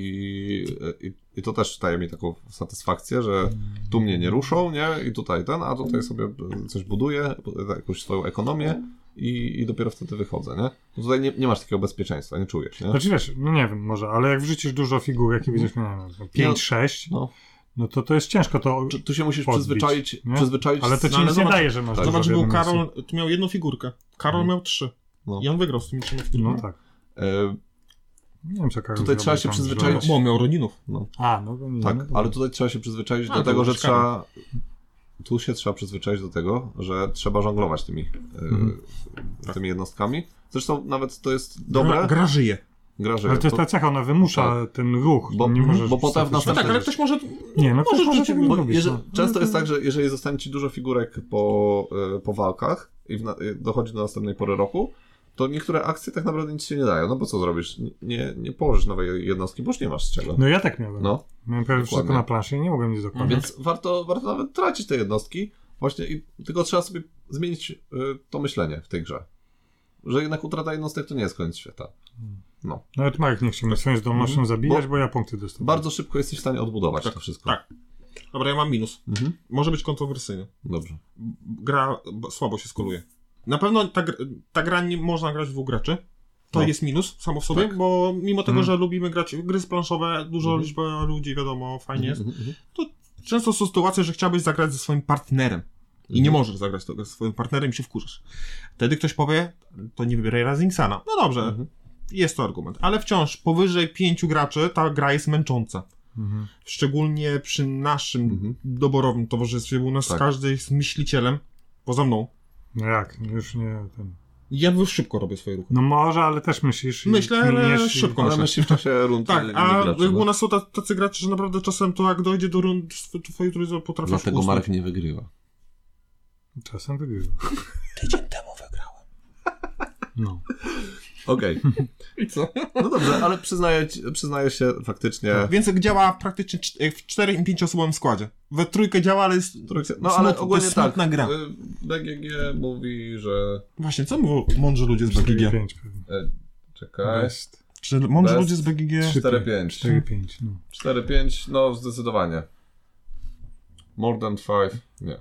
i, I to też daje mi taką satysfakcję, że tu mnie nie ruszą, nie? I tutaj ten, a tutaj sobie coś buduję, jakąś swoją ekonomię i, i dopiero wtedy wychodzę, nie? No tutaj nie, nie masz takiego bezpieczeństwa, nie czujesz, nie? Znaczy wiesz, no nie wiem, może, ale jak wrzucisz dużo figur, jakie będziesz miał, 5-6, No. no to to jest ciężko to... Tu- Tu się musisz Podbić, przyzwyczaić, nie? przyzwyczaić... Ale to z- ci ale nic nie zobacz- daje, że masz tak. dużo Zobacz, w był jednym miejscu. Karol, tu miał jedną figurkę, Karol miał trzy. No. I on wygrał z tymi trzema figurkami. No tak. e, Nie wiem, co Karol Tutaj trzeba zrobił się tam, przyzwyczaić. że- Bo miał Roninów. A, no to nie. Tak, no, to- ale tutaj trzeba się przyzwyczaić A, do to tego, że ciekawe. trzeba. Tu się trzeba przyzwyczaić do tego, że trzeba żonglować tymi, e, Mhm. tymi jednostkami. Zresztą nawet to jest dobre. Gra, Gra, gra żyje. że Ale to jest to- ta cecha, ona wymusza ten ruch. Tak. Bo- nie możesz bo potem w statyczny- No następnym- tak, ale Możesz- ktoś może. Nie, no Możesz ktoś może rzucić- tego nie bo lubić. jeżeli, no. Często jest tak, że jeżeli zostanie ci dużo figurek po, e, po walkach i w na, e, dochodzi do następnej pory roku, to niektóre akcje tak naprawdę nic się nie dają. No bo co zrobisz? Nie, nie położysz nowej jednostki, bo już nie masz z czego. No ja tak miałem. No. Miałem prawie wszystko dokładnie. na planszy i nie mogłem nic dokładnie. Więc Mhm. warto, warto nawet tracić te jednostki, właśnie i tylko trzeba sobie zmienić y, to myślenie w tej grze. Że jednak utrata jednostek to nie jest koniec świata. Nawet Marek nie chciał mnie swoją zdolnością No. Mhm. zabijać, Bo- bo, ja punkty dostałem. Bardzo szybko jesteś w stanie odbudować Tak, to wszystko. tak. Dobra, ja mam minus. Mhm. Może być kontrowersyjny. Dobrze. Gra b- słabo się skoluje. Na pewno ta, gr- ta gra nie można grać w dwóch graczy. To No. jest minus samo w sobie, Tak. bo mimo tego, Mm. że lubimy grać w gry planszowe, dużo Mhm. liczba ludzi, wiadomo, fajnie jest. Mhm, mhm, Często są sytuacje, że chciałbyś zagrać ze swoim partnerem i nie Mhm. możesz zagrać tego ze swoim partnerem i się wkurzasz. Wtedy ktoś powie, to nie wybieraj Razingsana. No dobrze, mhm. jest to argument, ale wciąż powyżej pięciu graczy ta gra jest męcząca. Mhm. Szczególnie przy naszym Mhm. doborowym towarzystwie, bo u nas Tak. każdy jest myślicielem, poza mną. No jak, już nie ten. Ja już szybko robię swoje ruchy. No może, ale też myślisz. i Myślę, ale kminiesz i- szybko. Ale Proszę. myśli w czasie rundy. Tak, innych a graczy, no. u nas są ta- tacy gracze, że naprawdę czasem to jak dojdzie do rund tw- twojej trójzy, potrafisz Dlatego usnąć. Marek nie wygrywa. Czasem wygrywa. Tydzień temu wygrałem. No. Okej. I co? No dobrze, ale przyznaję, ci- przyznaję się faktycznie. Tak. Więc działa praktycznie cz- w 4 i 5 osobowym składzie. We trójkę działa, ale jest... Trójce- No Smutna- ale to ogólnie jest tak. smutna gra. y, BGG mówi, że Właśnie, co mówią mądrzy ludzie z BGG? Pięć pewnie. E, Czekaj. Best. Czy mądrzy Bez- ludzie z BGG... 4-5. 4-5, no. 4-5, no zdecydowanie. More than 5, nie.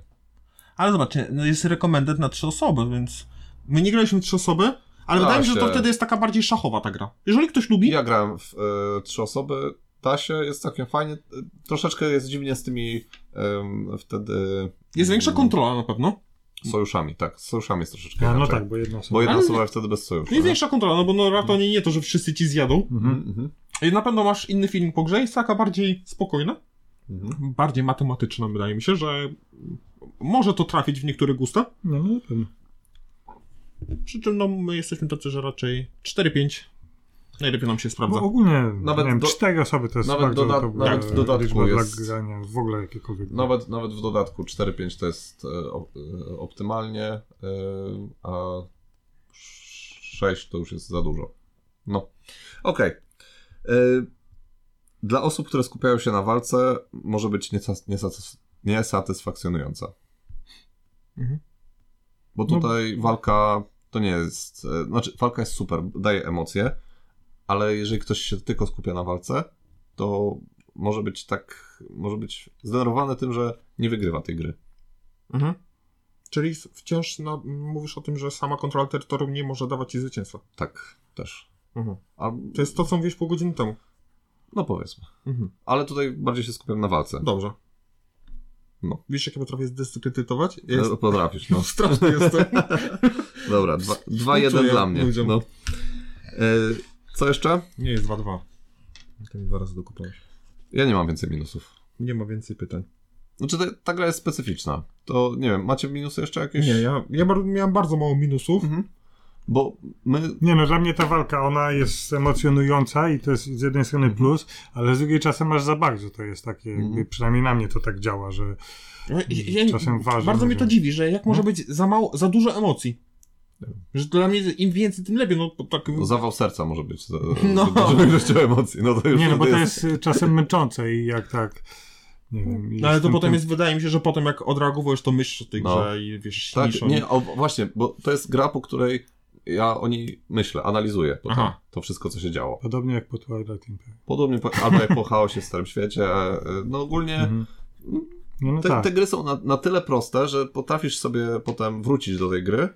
Ale zobaczcie, no jest rekomendant na trzy osoby, więc... My nie graliśmy w trzy osoby, ale Da wydaje mi się, że to się. wtedy jest taka bardziej szachowa ta gra. Jeżeli ktoś lubi, Ja grałem w e, trzy osoby. Tasie jest całkiem fajnie. E, Troszeczkę jest dziwnie z tymi em, wtedy jest większa mm, kontrola na pewno. No sojuszami. Tak, z sojuszami jest troszeczkę. A, no inaczej. tak, bo jedno Bo sobie. jedna Ale- osoba jest wtedy bez sojuszu. No jest nie? większa kontrola, no bo no rato nie, nie to, że wszyscy ci zjadą. Mhm. Mhm, mhm, I na pewno masz inny feeling po grze, jest taka bardziej spokojna. mhm. bardziej matematyczna, wydaje mi się, że może to trafić w niektóre gusta. No, no, pewnie. Przy czym no, my jesteśmy tacy, że raczej 4-5 najlepiej nam się sprawdza. Bo ogólnie, Nawet nawet nie wiem, do- cztery osoby to jest nawet bardzo doda- dobra nawet w dodatku liczba jest- dla grania w ogóle jakiekolwiek. Nawet, nawet w dodatku 4-5 to jest e, op- e, optymalnie, e, a 6 to już jest za dużo. No. Okej. E, Dla osób, które skupiają się na walce, może być niesas- niesatys- niesatysfakcjonująca. Mhm. Bo No- tutaj walka to nie jest. e, Znaczy, walka jest super, daje emocje, ale jeżeli ktoś się tylko skupia na walce, to może być tak, może być zdenerwowany tym, że nie wygrywa tej gry. Mhm. Czyli s- wciąż na, mówisz o tym, że sama kontrola terytorium nie może dawać ci zwycięstwa. Tak, też. Mhm. A, To jest to, co mówiłeś pół godziny temu. no powiedzmy. Mhm. Ale tutaj bardziej się skupiam na walce. Dobrze. No. Wiesz, jak ja potrafię zdyskredytować? Jest... Jest... Potrafisz, no. Straszny jestem. Dobra, dwa- dwa jeden Współczuję dla mnie. ludziom. No. E, co jeszcze? Nie jest 2-2. To mi dwa razy dokupałeś. Ja nie mam więcej minusów. Nie ma więcej pytań. Znaczy, ta, ta gra jest specyficzna. To nie wiem, macie minusy jeszcze jakieś? Nie, ja, ja bar- miałem bardzo mało minusów. Mhm. Bo my Nie no, dla mnie ta walka, ona jest emocjonująca i to jest z jednej strony plus, ale z drugiej czasem aż za bardzo to jest takie, jakby, przynajmniej na mnie to tak działa, że No, i- ja, Czasem ważne, bardzo mnie to że- dziwi, że jak może być za mało, za dużo emocji. Że dla mnie im więcej, tym lepiej. No, to tak, No, zawał serca może być za, No. no. za dużą ilością emocji. No to już nie no, bo wtedy to jest y, czasem męczące i jak tak, nie wiem. i no, ale to jestem potem tym- jest, wydaje mi się, że potem jak odreagowujesz, to myślisz o tej No. grze i wiesz, śnisz Tak, o niej. nie, o, właśnie, bo to jest gra, po której ja o niej myślę, analizuję potem Aha. to wszystko, co się działo. Podobnie jak po Twilight Imperium. Podobnie po, albo jak po chaosie w Starym Świecie. e, No ogólnie Mhm. Nie no te, tak. te gry są na, na tyle proste, że potrafisz sobie potem wrócić do tej gry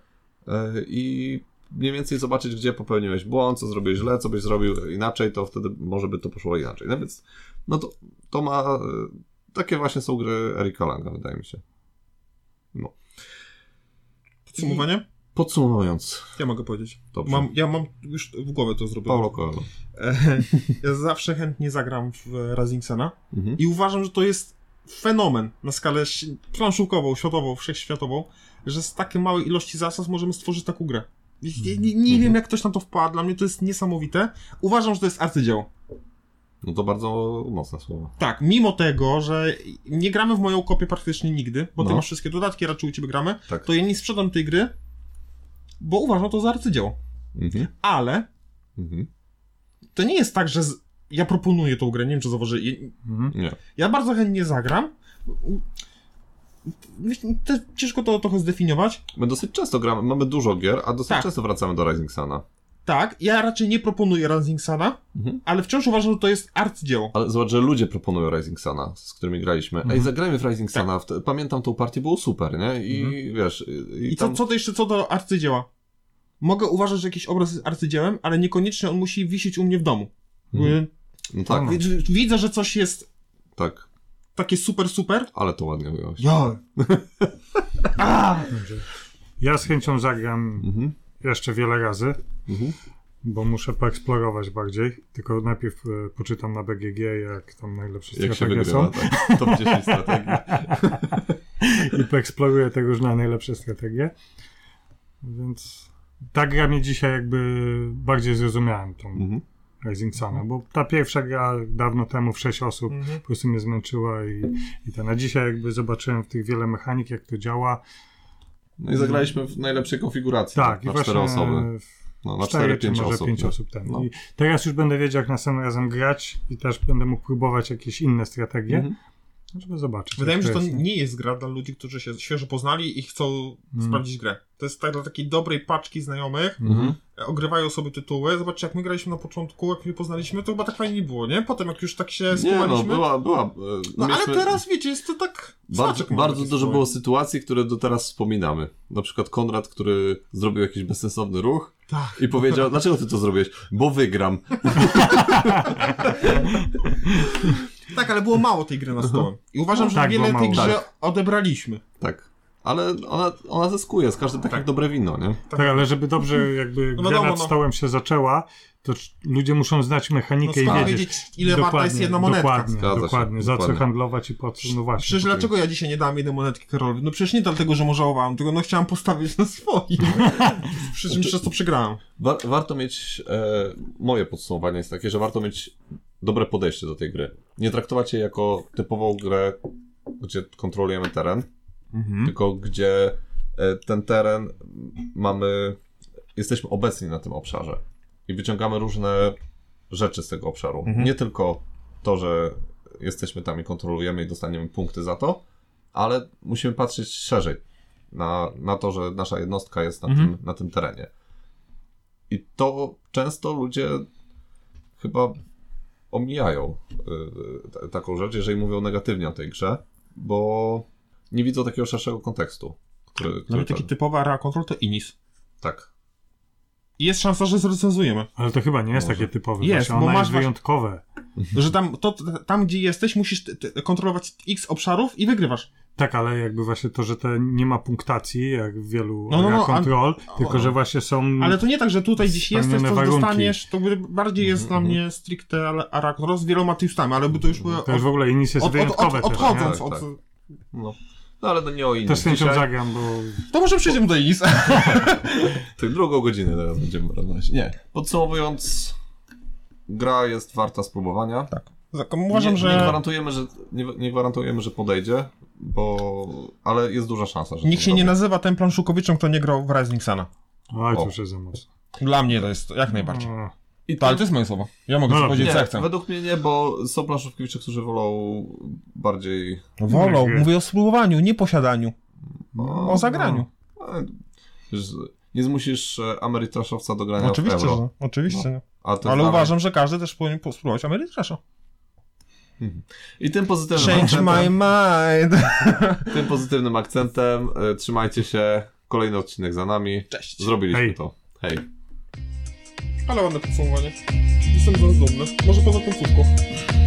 e, i mniej więcej zobaczyć, gdzie popełniłeś błąd, co zrobiłeś źle, co byś zrobił inaczej, to wtedy może by to poszło inaczej. No więc, no to, to ma... e, Takie właśnie są gry Erika Langa, wydaje mi się. Podsumowanie? Podsumowując, Ja mogę powiedzieć. dobrze. Mam, ja mam już w głowie to zrobione. Paulo Coelho. E, ja zawsze chętnie zagram w e, Razingsena Mhm. i uważam, że to jest fenomen na skalę ś- planszówkową, światową, wszechświatową, że z takiej małej ilości zasad możemy stworzyć taką grę. Nie, nie, Mhm. nie wiem, jak ktoś na to wpadł, dla mnie to jest niesamowite. Uważam, że to jest arcydzieło. No to bardzo mocne słowo. Tak, mimo tego, że nie gramy w moją kopię praktycznie nigdy, bo ty No. masz wszystkie dodatki, raczej u ciebie gramy, Tak. to ja nie sprzedam tej gry, bo uważam to za arcydzieło. Mhm. Ale Mhm. to nie jest tak, że z... ja proponuję tą grę, nie wiem czy zauważyli. Mhm. Nie. Ja bardzo chętnie zagram. Wiesz, Też ciężko to trochę zdefiniować. My dosyć często gramy, mamy dużo gier, a dosyć Tak. często wracamy do Rising Suna. Tak, ja raczej nie proponuję Rising Sana, Mhm. ale wciąż uważam, że to jest arcydzieło. Ale zobacz, że ludzie proponują Rising Suna, z którymi graliśmy. Ej, Mhm. zagrajmy w Tak. Rising Suna. Wte- Pamiętam tą partię, było super, nie? I Mhm. wiesz... I, I co, tam... co to jeszcze co do arcydzieła? Mogę uważać, że jakiś obraz jest arcydziełem, ale niekoniecznie on musi wisieć u mnie w domu. Mhm. No tak, No. Wi- wi- Widzę, że coś jest tak. takie super, super. Ale to ładnie ująłeś. Ja. A! Dobrze. Ja z chęcią zagram Mhm. jeszcze wiele razy, Mhm. bo muszę poeksplorować bardziej. Tylko najpierw e, poczytam na BGG, jak tam najlepsze Jak się strategie wygrywa, są. tak. Top 10 strategii. i poeksploruję te różne najlepsze strategie. Więc ta gra mnie dzisiaj jakby bardziej zrozumiałem tą Mhm. Rising Suna, bo ta pierwsza gra dawno temu w 6 osób Mhm. po prostu mnie zmęczyła i, i ten. A dzisiaj jakby zobaczyłem w tych wiele mechanik, jak to działa. No i zagraliśmy w najlepszej konfiguracji. Tak, na i właśnie cztery osoby. No, na cztery, czy 4-5 może osób. pięć nie? osób ten. No. I teraz już będę wiedział, jak następnym razem grać i też będę mógł próbować jakieś inne strategie. Mhm. Żeby zobaczyć. Wydaje mi się, jak że to jest, nie? nie jest gra dla ludzi, którzy się świeżo poznali i chcą Mm. Mhm. sprawdzić grę. To jest tak dla takiej dobrej paczki znajomych, Mhm. no, e, ogrywają sobie tytuły. Zobaczcie, jak my graliśmy na początku, jak mnie poznaliśmy, to chyba tak fajnie nie było, nie? Potem jak już tak się Nie, no, skumaliśmy... No, była, była. e, mieliśmy- ale teraz, wiecie, jest to tak... Bardzo, smaczek mamy bardzo taki dużo swój. było sytuacji, które do teraz wspominamy. Na przykład Konrad, który zrobił jakiś bezsensowny ruch Tak. i powiedział, dlaczego ty to zrobiłeś? Bo wygram. Tak, ale było mało tej gry na stołem. I uważam, No że tak, wiele było tej mało. grze odebraliśmy. Tak. Ale ona, ona zyskuje z każdym tak, jak dobre wino, nie? Tak, ale żeby dobrze jakby No gra wiadomo, nad no. stołem się zaczęła, to c- ludzie muszą znać No mechanikę skąd i wiedzieć. wiedzieć, ile warta jest Dokładnie, jedna monetka? Dokładnie, Zgadza się, dokładnie. Za co dokładnie. handlować i po co, no właśnie. Przecież dlaczego ja dzisiaj nie dałem jednej monetki Karolowi? No przecież nie dlatego, że mu żałowałem, tylko no chciałem postawić na swoim. Przy czym przez to przegrałem. Wa- warto mieć, e, moje podsumowanie jest takie, że warto mieć dobre podejście do tej gry. Nie traktować jej jako typową grę, gdzie kontrolujemy teren, Mhm. tylko gdzie e, ten teren mamy, jesteśmy obecni na tym obszarze i wyciągamy różne rzeczy z tego obszaru. Mhm. Nie tylko to, że jesteśmy tam i kontrolujemy i dostaniemy punkty za to, ale musimy patrzeć szerzej na, na to, że nasza jednostka jest na, Mhm. tym, na tym terenie. I to często ludzie chyba omijają y, t- taką rzecz, jeżeli mówią negatywnie o tej grze, bo nie widzą takiego szerszego kontekstu. Który, który Nawet No taki typowy area control to Inis. Tak. I jest szansa, że zrecenzujemy. Ale to chyba nie jest Może. takie typowe. Jest, Jest, bo ona masz jest właśnie- wyjątkowe. Że tam, to, tam gdzie jesteś, musisz ty, ty, kontrolować x obszarów i wygrywasz. Tak, ale jakby właśnie to, że te nie ma punktacji, jak w wielu No, no, no, no, a- kontrol, a- tylko że właśnie są... Ale to nie tak, że tutaj gdzieś Spełnione jesteś, coś warunki. dostaniesz, to by- bardziej jest Mhm, dla mnie stricte area control z wieloma twistami, ale by to już były od, To już w ogóle inis jest od, od, wyjątkowe od, też, odchodząc Tak, od... tak. No. no ale to nie o nie? innym. Też z chęcią Dzisiaj zagram, bo... To może przejdziemy do Inis. Tych drugą godzinę teraz będziemy rozmawiać. Nie. Podsumowując, gra jest warta spróbowania. Tak. Tak, Uważam, nie, że... Nie gwarantujemy, że, nie, nie gwarantujemy, że podejdzie, bo... Ale jest duża szansa, że Nikt to się nie zrobi. nazywa tym planszukowiczem, kto nie grał w Rising Sana. Oj, O. to już jest za mocno. Dla mnie to jest jak najbardziej. O, I To, ale to jest moje słowo. Ja mogę No no, dobrze. powiedzieć, co ja nie, chcę. według mnie nie, bo są planszówkiewicze, którzy wolą bardziej... No, Wolą, Nie. mówię o spróbowaniu, nie posiadaniu. No, O zagraniu. e, z- Nie zmusisz e, amerytraszowca do grania oczywiście, w euro. że, oczywiście. że. A to jest Ale Amery- uważam, że każdy też powinien po- spróbować Amerytrasza. I tym pozytywnym Change akcentem- my mind. Tym pozytywnym akcentem y, trzymajcie się. Kolejny odcinek za nami. Cześć. Zrobiliśmy Hej. to. Hej. Ale ładne podsumowanie. Jestem z nas dumny. Może poza końcówką.